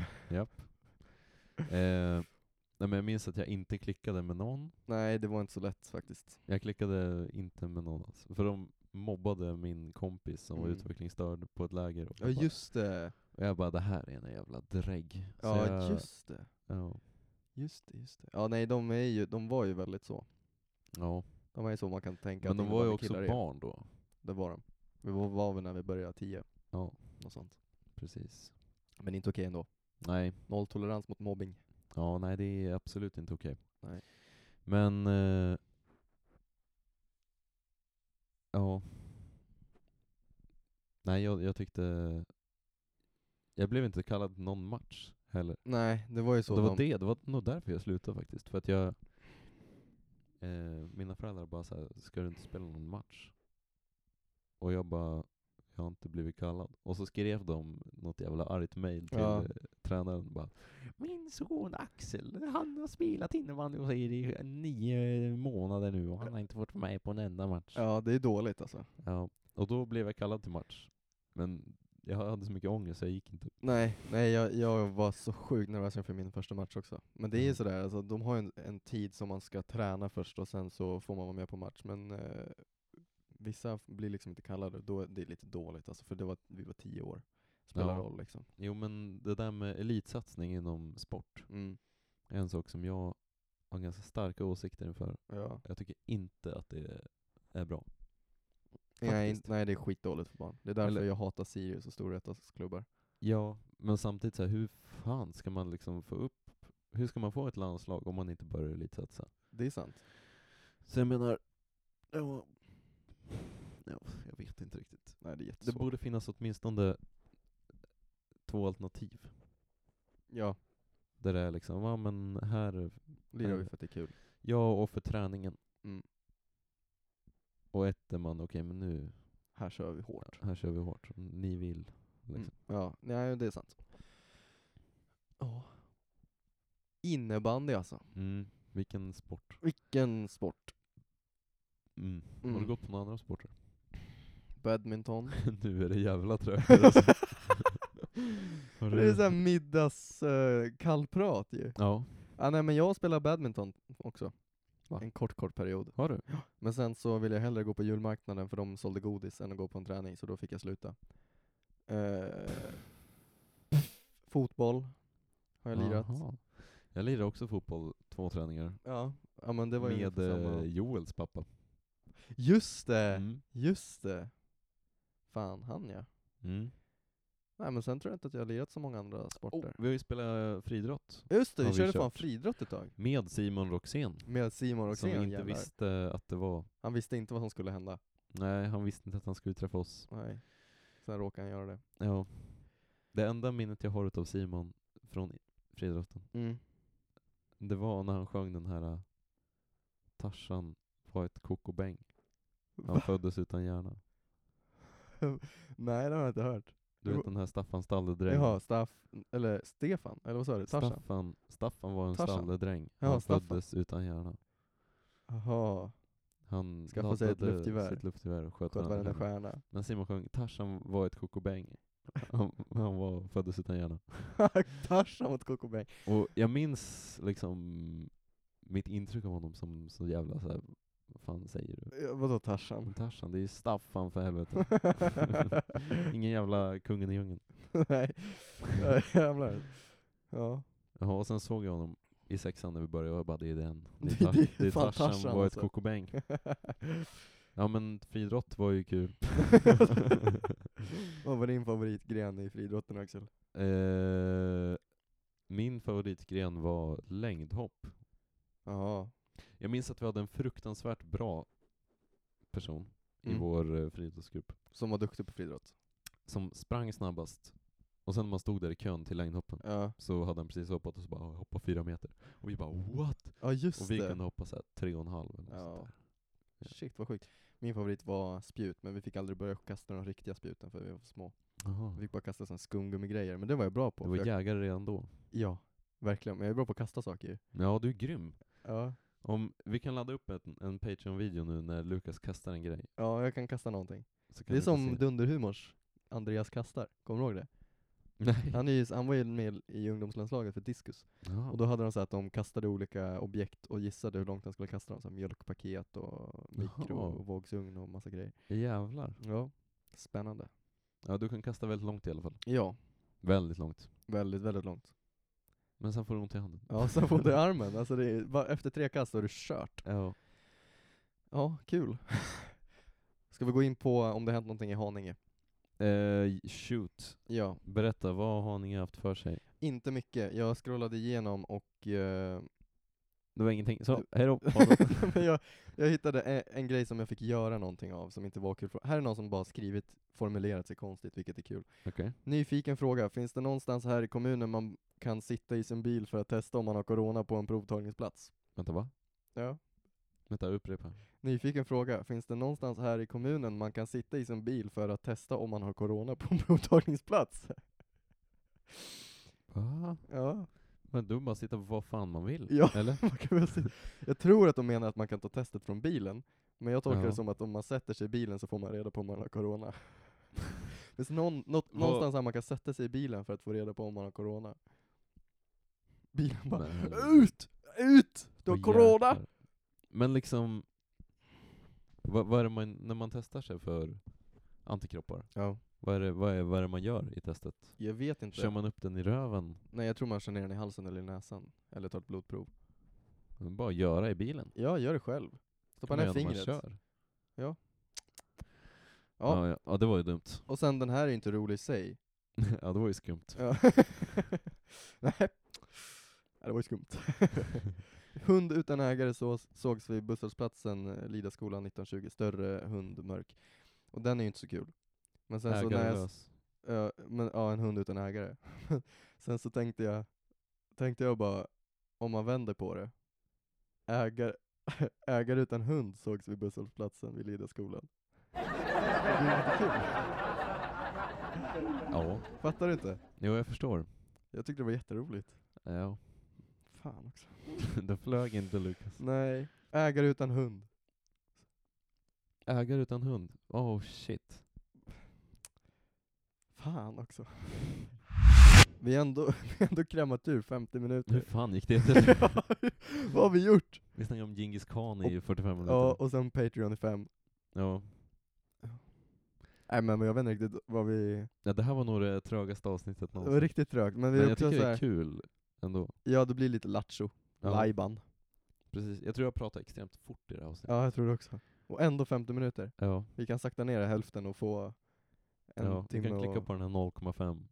[SPEAKER 1] Eh, nej, men jag minns att jag inte klickade med någon.
[SPEAKER 2] Nej, det var inte så lätt faktiskt.
[SPEAKER 1] Jag klickade inte med någon alls. För de mobbade min kompis som var
[SPEAKER 2] Mm.
[SPEAKER 1] utvecklingsstörd på ett läger. Och
[SPEAKER 2] Ja,
[SPEAKER 1] jag, bara,
[SPEAKER 2] just det.
[SPEAKER 1] och jag bara, det här är en jävla drägg. Så
[SPEAKER 2] Ja,
[SPEAKER 1] jag,
[SPEAKER 2] just det.
[SPEAKER 1] Ja,
[SPEAKER 2] Just det, just det. Ja, nej, de, är ju, de var ju väldigt så.
[SPEAKER 1] ja.
[SPEAKER 2] De är ju så man kan tänka
[SPEAKER 1] men
[SPEAKER 2] att
[SPEAKER 1] de var ju också
[SPEAKER 2] innebandykillar är.
[SPEAKER 1] barn då.
[SPEAKER 2] Det var de. Vi var, var vi när vi började, tio.
[SPEAKER 1] Ja,
[SPEAKER 2] Något sånt.
[SPEAKER 1] precis.
[SPEAKER 2] Men inte okej ändå.
[SPEAKER 1] Nej,
[SPEAKER 2] Nolltolerans mot mobbing.
[SPEAKER 1] ja, nej det är absolut inte okej.
[SPEAKER 2] Nej.
[SPEAKER 1] Men... Eh, ja. Nej, jag, jag tyckte... Jag blev inte kallad någon match heller.
[SPEAKER 2] Nej, det var ju så
[SPEAKER 1] det var
[SPEAKER 2] de...
[SPEAKER 1] det, det var nog därför jag slutade faktiskt. För att jag... Eh, mina föräldrar bara såhär, ska du inte spela någon match? Och jag bara, jag har inte blivit kallad. Och så skrev de något jävla argt mail till
[SPEAKER 2] Ja.
[SPEAKER 1] eh, tränaren bara, Min son Axel, han har spelat innebandy hos er i nio månader nu och han har inte varit med på en enda match.
[SPEAKER 2] Ja, det är dåligt alltså.
[SPEAKER 1] Ja. Och då blev jag kallad till match. Men jag hade så mycket ångest så jag gick inte.
[SPEAKER 2] Nej, nej jag, jag var så sjukt nervös inför min första match också. Men det är ju
[SPEAKER 1] Mm.
[SPEAKER 2] sådär, alltså, de har ju en, en tid som man ska träna först och sen så får man vara med på match. Men eh, vissa f- blir liksom inte kallade och då det är lite dåligt alltså, för det var, vi var tio år. Spelar
[SPEAKER 1] Ja.
[SPEAKER 2] roll liksom.
[SPEAKER 1] Jo men det där med elitsatsning inom sport.
[SPEAKER 2] Mm,
[SPEAKER 1] en sak som jag har ganska starka åsikter inför.
[SPEAKER 2] ja.
[SPEAKER 1] Jag tycker inte att det är bra.
[SPEAKER 2] nej,
[SPEAKER 1] Faktiskt.
[SPEAKER 2] inte- nej, det är skitdåligt för barn. Det är därför
[SPEAKER 1] Eller-
[SPEAKER 2] jag hatar Sirius och Storvretas klubbar.
[SPEAKER 1] Ja, men samtidigt så här, hur fan ska man liksom få upp, hur ska man få ett landslag om man inte börjar elitsatsa?
[SPEAKER 2] Det är sant.
[SPEAKER 1] Så jag menar, ja, ja, jag vet inte riktigt.
[SPEAKER 2] Nej, det
[SPEAKER 1] Det
[SPEAKER 2] är jättesvårt.
[SPEAKER 1] borde finnas åtminstone två alternativ.
[SPEAKER 2] Ja,
[SPEAKER 1] Där det är liksom, ja men här,
[SPEAKER 2] lirar vi
[SPEAKER 1] Men-
[SPEAKER 2] för att det är kul.
[SPEAKER 1] ja och för träningen.
[SPEAKER 2] Mm.
[SPEAKER 1] Och ett där man, okej men nu,
[SPEAKER 2] Här kör vi hårt.
[SPEAKER 1] här kör vi hårt, ni vill. Liksom.
[SPEAKER 2] Mm. Ja, nej, det är sant. Ja. Innebandy alltså.
[SPEAKER 1] Mm, vilken sport.
[SPEAKER 2] Vilken sport.
[SPEAKER 1] Mm. Har
[SPEAKER 2] Mm.
[SPEAKER 1] du gått på några andra sporter?
[SPEAKER 2] Badminton.
[SPEAKER 1] nu är det jävla trögt. alltså. Har
[SPEAKER 2] det är såhär middagskallprat eh, ju.
[SPEAKER 1] Ja.
[SPEAKER 2] Ah, nej men jag spelar badminton också.
[SPEAKER 1] Va?
[SPEAKER 2] En kort, kort period.
[SPEAKER 1] Har du?
[SPEAKER 2] Men sen så ville jag hellre gå på julmarknaden för de sålde godis än att gå på en träning, så då fick jag sluta. Eh, fotboll har jag lirat.
[SPEAKER 1] Jaha. Jag lirade också fotboll två träningar.
[SPEAKER 2] Ja. ja, men det var ju
[SPEAKER 1] med
[SPEAKER 2] ungefär samma. Eh.
[SPEAKER 1] eh, Joels pappa.
[SPEAKER 2] Just det!
[SPEAKER 1] Mm.
[SPEAKER 2] Just det. Fan, han ja.
[SPEAKER 1] Mm.
[SPEAKER 2] Nej men sen tror jag inte att jag har lirat så många andra
[SPEAKER 1] Oh,
[SPEAKER 2] sporter.
[SPEAKER 1] vi har ju spelat friidrott
[SPEAKER 2] Just det, vi
[SPEAKER 1] Har vi
[SPEAKER 2] körde fan
[SPEAKER 1] kört?
[SPEAKER 2] friidrott ett tag.
[SPEAKER 1] med Simon Roxén.
[SPEAKER 2] Med Simon
[SPEAKER 1] Som
[SPEAKER 2] Roxén
[SPEAKER 1] inte
[SPEAKER 2] jävlar.
[SPEAKER 1] visste att det var...
[SPEAKER 2] Han visste inte vad som skulle hända.
[SPEAKER 1] Nej, han visste inte att han skulle träffa oss.
[SPEAKER 2] Nej. Sen råkade han göra det.
[SPEAKER 1] Ja. Det enda minnet jag har utav Simon från i- friidrotten, det var när han sjöng den här eh, Tarzan var ett kokobäng. Han
[SPEAKER 2] Va?
[SPEAKER 1] föddes utan hjärna.
[SPEAKER 2] Nej, det har jag inte hört.
[SPEAKER 1] Du vet den här Staffan Stalledräng?
[SPEAKER 2] Jaha, Staff, eller Stefan, eller vad sa du? Tarzan?
[SPEAKER 1] Staffan, Staffan var en
[SPEAKER 2] Tarzan.
[SPEAKER 1] stalledräng.
[SPEAKER 2] Ja,
[SPEAKER 1] Han
[SPEAKER 2] Staffan.
[SPEAKER 1] föddes utan hjärna.
[SPEAKER 2] Jaha,
[SPEAKER 1] Han
[SPEAKER 2] Skaffade sig ett
[SPEAKER 1] laddade
[SPEAKER 2] luftgevär.
[SPEAKER 1] sitt luftgevär och sköt
[SPEAKER 2] sköt varenda
[SPEAKER 1] varandra.
[SPEAKER 2] stjärna.
[SPEAKER 1] Men Simon sjöng Tarzan var ett kokobäng. Han, han var, föddes utan hjärna.
[SPEAKER 2] Tarzan mot Coco Bang.
[SPEAKER 1] Och jag minns liksom mitt intryck av honom som så jävla såhär, vad fan säger du?
[SPEAKER 2] Ja, Eh, Vadå
[SPEAKER 1] Men
[SPEAKER 2] Tarzan?
[SPEAKER 1] Tarzan, det är ju Staffan för helvete. Ingen jävla kungen i djungeln.
[SPEAKER 2] Nej, Ja, jävlar. Ja.
[SPEAKER 1] Ja, och sen såg jag honom i sexan när vi började och jag bara, det är den. Det
[SPEAKER 2] Det
[SPEAKER 1] är,
[SPEAKER 2] är
[SPEAKER 1] tar- det är
[SPEAKER 2] fan
[SPEAKER 1] Tarzan,
[SPEAKER 2] Tarzan
[SPEAKER 1] var ett
[SPEAKER 2] alltså.
[SPEAKER 1] kokobäng. Ja men friidrott var ju kul.
[SPEAKER 2] Vad var din favoritgren i friidrotten Axel?
[SPEAKER 1] Eh, min favoritgren var längdhopp.
[SPEAKER 2] Jaha.
[SPEAKER 1] Jag minns att vi hade en fruktansvärt bra person i
[SPEAKER 2] Mm.
[SPEAKER 1] vår eh, friidrottsgrupp
[SPEAKER 2] Som var duktig på friidrott?
[SPEAKER 1] som sprang snabbast. Och sen när man stod där i kön till längdhoppen
[SPEAKER 2] Ja,
[SPEAKER 1] så hade han precis hoppat och så bara "Ah, hoppa fyra meter. Och vi bara what?
[SPEAKER 2] ja Mm. just
[SPEAKER 1] Och vi
[SPEAKER 2] det.
[SPEAKER 1] kunde hoppa såhär tre och en halv eller något sånt
[SPEAKER 2] Ja.
[SPEAKER 1] där.
[SPEAKER 2] Shit vad sjukt. Min favorit var spjut, men vi fick aldrig börja kasta de riktiga spjuten för vi var för små.
[SPEAKER 1] Jaha.
[SPEAKER 2] Vi fick bara kasta såna skumgummigrejer, men det var jag bra på.
[SPEAKER 1] Du
[SPEAKER 2] för
[SPEAKER 1] var
[SPEAKER 2] jag,
[SPEAKER 1] jägare redan då.
[SPEAKER 2] ja, verkligen. Men jag är bra på att kasta saker ju.
[SPEAKER 1] Ja du är grym.
[SPEAKER 2] Ja.
[SPEAKER 1] Om, vi kan ladda upp en, en Patreon-video nu när Lukas kastar en grej.
[SPEAKER 2] ja, jag kan kasta någonting.
[SPEAKER 1] Så kan
[SPEAKER 2] Det är
[SPEAKER 1] ni få
[SPEAKER 2] som
[SPEAKER 1] se.
[SPEAKER 2] Dunderhumors Andreas kastar, kommer du ihåg det?
[SPEAKER 1] Nej.
[SPEAKER 2] Han, är ju, han var ju med i ungdomslandslaget för diskus,
[SPEAKER 1] Jaha.
[SPEAKER 2] och då hade de så här att de kastade olika objekt och gissade hur långt de skulle kasta dem, så här mjölkpaket och mikrovågsugn och massa grejer.
[SPEAKER 1] Jävlar.
[SPEAKER 2] Ja, spännande.
[SPEAKER 1] Ja, du kan kasta väldigt långt i alla fall.
[SPEAKER 2] Ja,
[SPEAKER 1] Väldigt långt.
[SPEAKER 2] väldigt, väldigt långt.
[SPEAKER 1] Men sen får du ont i handen.
[SPEAKER 2] Ja, sen får du i armen. Alltså det är, bara efter tre kast så är du kört.
[SPEAKER 1] Ja.
[SPEAKER 2] Ja, kul. Ska vi gå in på eh, om det hänt någonting i Haninge?
[SPEAKER 1] Eh, shoot.
[SPEAKER 2] Ja,
[SPEAKER 1] Berätta, vad har ni haft för sig?
[SPEAKER 2] inte mycket. Jag scrollade igenom och eh,
[SPEAKER 1] Det var ingenting. Så, hejdå.
[SPEAKER 2] men jag, jag hittade en, en grej som jag fick göra någonting av som inte var kul. Här är någon som bara skrivit, formulerat sig konstigt, vilket är kul.
[SPEAKER 1] Okej.
[SPEAKER 2] Nyfiken fråga, finns det någonstans här i kommunen man kan sitta i sin bil för att testa om man har corona på en provtagningsplats?
[SPEAKER 1] Vänta, va?
[SPEAKER 2] Ja.
[SPEAKER 1] Vänta, upprepa.
[SPEAKER 2] Nyfiken fråga, finns det någonstans här i kommunen man kan sitta i sin bil för att testa om man har corona på en provtagningsplats?
[SPEAKER 1] Va?
[SPEAKER 2] Ja,
[SPEAKER 1] Men du bara sitta vad fan man vill.
[SPEAKER 2] Ja.
[SPEAKER 1] Eller?
[SPEAKER 2] man kan väl se- jag tror att de menar att man kan ta testet från bilen, men jag tolkar
[SPEAKER 1] Ja.
[SPEAKER 2] det som att om man sätter sig i bilen så får man reda på om man har corona. Finns det någon, något, någonstans här man kan sätta sig i bilen för att få reda på om man har corona? Bilen bara
[SPEAKER 1] Nej.
[SPEAKER 2] ut! Ut! Du har
[SPEAKER 1] Åh,
[SPEAKER 2] corona!
[SPEAKER 1] jäklar. Men liksom, vad, vad är det man, när man testar sig för antikroppar?
[SPEAKER 2] Ja,
[SPEAKER 1] Vad är, det, vad, är, vad är det man gör i testet?
[SPEAKER 2] jag vet inte.
[SPEAKER 1] Kör man upp den i röven?
[SPEAKER 2] Nej, jag tror man känner den i halsen eller i näsan, eller tar ett blodprov.
[SPEAKER 1] Bara göra i bilen.
[SPEAKER 2] Ja, gör det själv. Stoppa
[SPEAKER 1] Kan man
[SPEAKER 2] ner
[SPEAKER 1] göra när man
[SPEAKER 2] fingret.
[SPEAKER 1] kör.
[SPEAKER 2] Ja.
[SPEAKER 1] Ja. Ja, ja, det var ju dumt.
[SPEAKER 2] Och sen den här är inte rolig i sig.
[SPEAKER 1] ja, det var ju skumt.
[SPEAKER 2] Ja. Nej. Ja, det var ju skumt. hund utan ägare så, sågs vid busshållplatsen eh, Lidaskolan 1920, större hund mörk. Och den är ju inte så kul. Men sen så när jag, s-
[SPEAKER 1] Ägarlös.
[SPEAKER 2] ja, men, ja, en hund utan ägare. sen så tänkte jag, tänkte jag bara, om man vänder på det. Ägare, ägare utan hund sågs vid busshållplatsen vid Lidaskolan. Det är inte kul.
[SPEAKER 1] Ja,
[SPEAKER 2] Fattar du inte?
[SPEAKER 1] jo jag förstår.
[SPEAKER 2] Jag tyckte det var jätteroligt.
[SPEAKER 1] Ja.
[SPEAKER 2] Fan också.
[SPEAKER 1] det flög inte Lukas.
[SPEAKER 2] Nej. Ägare utan hund.
[SPEAKER 1] Ägare utan hund. Oh shit.
[SPEAKER 2] Fan också. Vi har ändå, vi har ändå krämat ur 50
[SPEAKER 1] Hur
[SPEAKER 2] minuter.
[SPEAKER 1] fan gick det till?
[SPEAKER 2] Vad har vi gjort?
[SPEAKER 1] Vi snackade om Djingis khan i 45 minuter.
[SPEAKER 2] Ja, och sen Patreon i fem.
[SPEAKER 1] Ja.
[SPEAKER 2] Nej men jag vet inte riktigt vad vi...
[SPEAKER 1] ja. Det här var nog det trögaste avsnittet
[SPEAKER 2] Det var
[SPEAKER 1] någonsin.
[SPEAKER 2] riktigt trögt, men vi
[SPEAKER 1] Men
[SPEAKER 2] är
[SPEAKER 1] jag
[SPEAKER 2] också
[SPEAKER 1] tycker det
[SPEAKER 2] så
[SPEAKER 1] är
[SPEAKER 2] här,
[SPEAKER 1] kul ändå.
[SPEAKER 2] Ja, det blir lite lattjo.
[SPEAKER 1] Ja,
[SPEAKER 2] Lajban.
[SPEAKER 1] precis. Jag tror jag pratade extremt fort i det här avsnittet.
[SPEAKER 2] Ja, jag tror det också. Och ändå 50 minuter.
[SPEAKER 1] Ja.
[SPEAKER 2] Vi kan sakta ner hälften och få en
[SPEAKER 1] ja. Du
[SPEAKER 2] timme
[SPEAKER 1] kan klicka
[SPEAKER 2] och...
[SPEAKER 1] på den här 0,5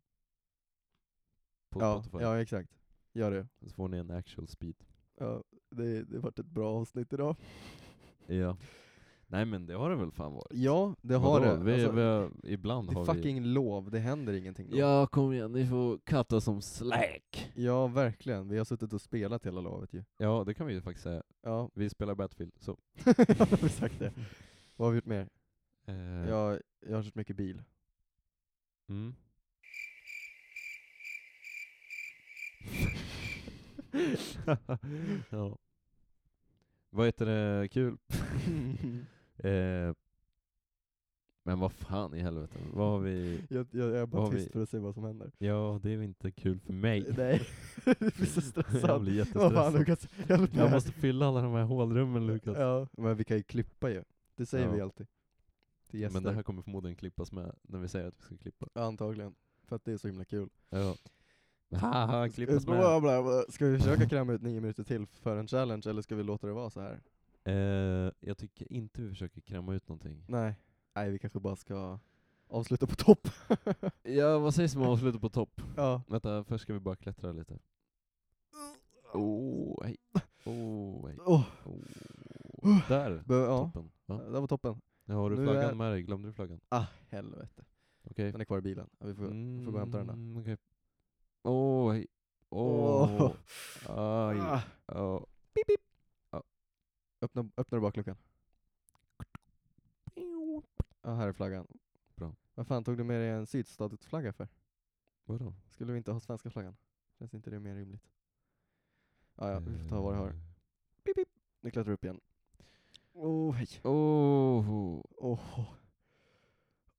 [SPEAKER 1] på
[SPEAKER 2] ja,
[SPEAKER 1] Spotify.
[SPEAKER 2] ja, exakt. Gör det.
[SPEAKER 1] Så får ni en actual speed.
[SPEAKER 2] Ja, det, det vart ett bra avsnitt idag.
[SPEAKER 1] Ja. Nej men det har det väl fan varit?
[SPEAKER 2] Ja, det har
[SPEAKER 1] Vadå?
[SPEAKER 2] det.
[SPEAKER 1] Vi,
[SPEAKER 2] Alltså,
[SPEAKER 1] vi har, ibland
[SPEAKER 2] det är
[SPEAKER 1] har vi...
[SPEAKER 2] fucking lov, det händer ingenting då.
[SPEAKER 1] Ja kom igen, ni får katta som släk!
[SPEAKER 2] ja, verkligen. Vi har suttit och spelat hela lovet ju.
[SPEAKER 1] Ja det kan vi ju faktiskt säga.
[SPEAKER 2] Ja,
[SPEAKER 1] Vi spelar Battlefield, så.
[SPEAKER 2] exakt det. Vad har vi gjort mer?
[SPEAKER 1] Eh,
[SPEAKER 2] Jag, jag har kört mycket bil.
[SPEAKER 1] mm. ja. Vad heter det, kul? Eh, men vad fan i helvete, vad har vi...
[SPEAKER 2] jag, jag, jag är
[SPEAKER 1] Vad
[SPEAKER 2] bara
[SPEAKER 1] har
[SPEAKER 2] tyst
[SPEAKER 1] vi-
[SPEAKER 2] för att se vad som händer.
[SPEAKER 1] Ja, det är väl inte kul för mig.
[SPEAKER 2] Nej, du blir så
[SPEAKER 1] Jag
[SPEAKER 2] stressad.
[SPEAKER 1] blir
[SPEAKER 2] Vad fan
[SPEAKER 1] jättestressad.
[SPEAKER 2] Lukas, hjälp mig
[SPEAKER 1] Jag
[SPEAKER 2] här.
[SPEAKER 1] måste fylla alla de här hålrummen Lukas.
[SPEAKER 2] Ja, alltså. men vi kan ju klippa ju. Det säger
[SPEAKER 1] Ja.
[SPEAKER 2] vi alltid. Till gäster.
[SPEAKER 1] Men det här kommer förmodligen klippas med när vi säger att vi ska klippa.
[SPEAKER 2] Antagligen. För att det är så himla kul.
[SPEAKER 1] Ja. Haha, klippas med.
[SPEAKER 2] Bla, bla, bla. Ska vi försöka kräma ut nio minuter till för en challenge, eller ska vi låta det vara så här?
[SPEAKER 1] Eh, jag tycker inte vi försöker kräma ut någonting.
[SPEAKER 2] Nej. Nej, vi kanske bara ska avsluta på topp.
[SPEAKER 1] Ja, vad sägs om att avsluta på topp?
[SPEAKER 2] ja.
[SPEAKER 1] Vänta, först ska vi bara klättra lite. Oh, hej. Oh, hej.
[SPEAKER 2] Åh,
[SPEAKER 1] Oh. Där!
[SPEAKER 2] be- ja.
[SPEAKER 1] Toppen. Ja.
[SPEAKER 2] Det var toppen.
[SPEAKER 1] Ja, har du
[SPEAKER 2] Nu
[SPEAKER 1] flaggan
[SPEAKER 2] är-
[SPEAKER 1] med dig? Glömde du flaggan?
[SPEAKER 2] Ah, helvete.
[SPEAKER 1] Okej.
[SPEAKER 2] Den är kvar i bilen. Ja, Vi får, vi får gå och hämta den där.
[SPEAKER 1] Mm, Okej. Åh, hej. Åh.
[SPEAKER 2] Åh.
[SPEAKER 1] Aj.
[SPEAKER 2] Ah.
[SPEAKER 1] Ja.
[SPEAKER 2] Öppna, öppna bakluckan. Ja, här är flaggan.
[SPEAKER 1] Bra.
[SPEAKER 2] Vad fan tog du med dig en sydstatsflagga för?
[SPEAKER 1] Vadå?
[SPEAKER 2] Skulle vi inte ha svenska flaggan? Känns inte det mer rimligt? Ah, ja, vi får ta vad det
[SPEAKER 1] Eh,
[SPEAKER 2] har. Nu klättrar vi upp igen. Åh, Oh, hej.
[SPEAKER 1] Åh.
[SPEAKER 2] Åh.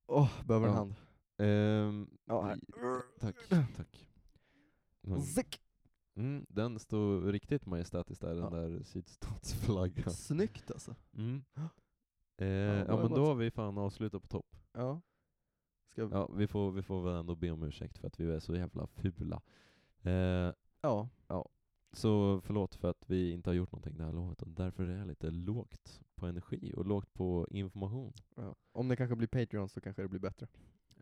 [SPEAKER 2] Åh, behöver en
[SPEAKER 1] Ja.
[SPEAKER 2] hand.
[SPEAKER 1] Ehm,
[SPEAKER 2] Ja, här.
[SPEAKER 1] Tack, tack. Mm.
[SPEAKER 2] Zick.
[SPEAKER 1] Mm, den står riktigt majestätiskt där, den
[SPEAKER 2] Ja.
[SPEAKER 1] där sydstatsflaggan.
[SPEAKER 2] Snyggt alltså.
[SPEAKER 1] Mm. Eh,
[SPEAKER 2] då
[SPEAKER 1] ja,
[SPEAKER 2] har det
[SPEAKER 1] men då
[SPEAKER 2] gått.
[SPEAKER 1] har vi fan avslutat på topp.
[SPEAKER 2] Ja. Ska vi? Ja.
[SPEAKER 1] Ja, vi får, vi får väl ändå be om ursäkt för att vi är så jävla fula. Eh,
[SPEAKER 2] ja.
[SPEAKER 1] så förlåt för att vi inte har gjort någonting det här lovet och därför är jag lite lågt på energi och lågt på information.
[SPEAKER 2] Om det kanske blir Patreon så kanske det blir bättre.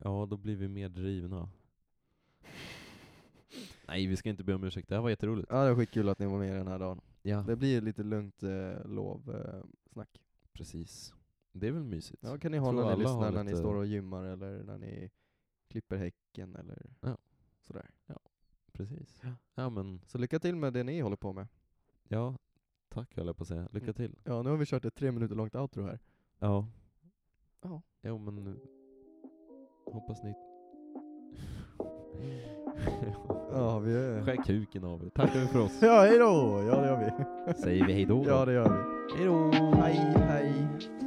[SPEAKER 1] Ja, då blir vi mer drivna. Nej, vi ska inte be om ursäkt. Det här var jätteroligt.
[SPEAKER 2] Ja, det var skitkul att ni var med den här dagen.
[SPEAKER 1] Ja,
[SPEAKER 2] Det blir lite lugnt eh, lovsnack. Eh, snack.
[SPEAKER 1] precis. Det är väl mysigt?
[SPEAKER 2] ja, kan ni
[SPEAKER 1] Jag
[SPEAKER 2] ha
[SPEAKER 1] tror
[SPEAKER 2] när ni
[SPEAKER 1] alla
[SPEAKER 2] lyssnar,
[SPEAKER 1] har
[SPEAKER 2] när ni
[SPEAKER 1] lite-
[SPEAKER 2] står och gymmar eller när ni klipper häcken eller
[SPEAKER 1] Ja.
[SPEAKER 2] sådär.
[SPEAKER 1] Precis.
[SPEAKER 2] Ja.
[SPEAKER 1] Ja, men
[SPEAKER 2] Så lycka till med det ni håller på med.
[SPEAKER 1] ja, tack höll jag på att säga. Lycka
[SPEAKER 2] Mm.
[SPEAKER 1] till.
[SPEAKER 2] Ja, nu har vi kört ett tre minuter långt outro här.
[SPEAKER 1] Ja.
[SPEAKER 2] Ja.
[SPEAKER 1] Jo men nu- hoppas ni...
[SPEAKER 2] Ja, vi är...
[SPEAKER 1] Skär kuken av er. Tackar vi för oss.
[SPEAKER 2] Ja, hej då! Ja, det gör vi.
[SPEAKER 1] Säger vi hejdå. då?
[SPEAKER 2] Ja, det gör vi.
[SPEAKER 1] Hejdå.
[SPEAKER 2] Hej, hej.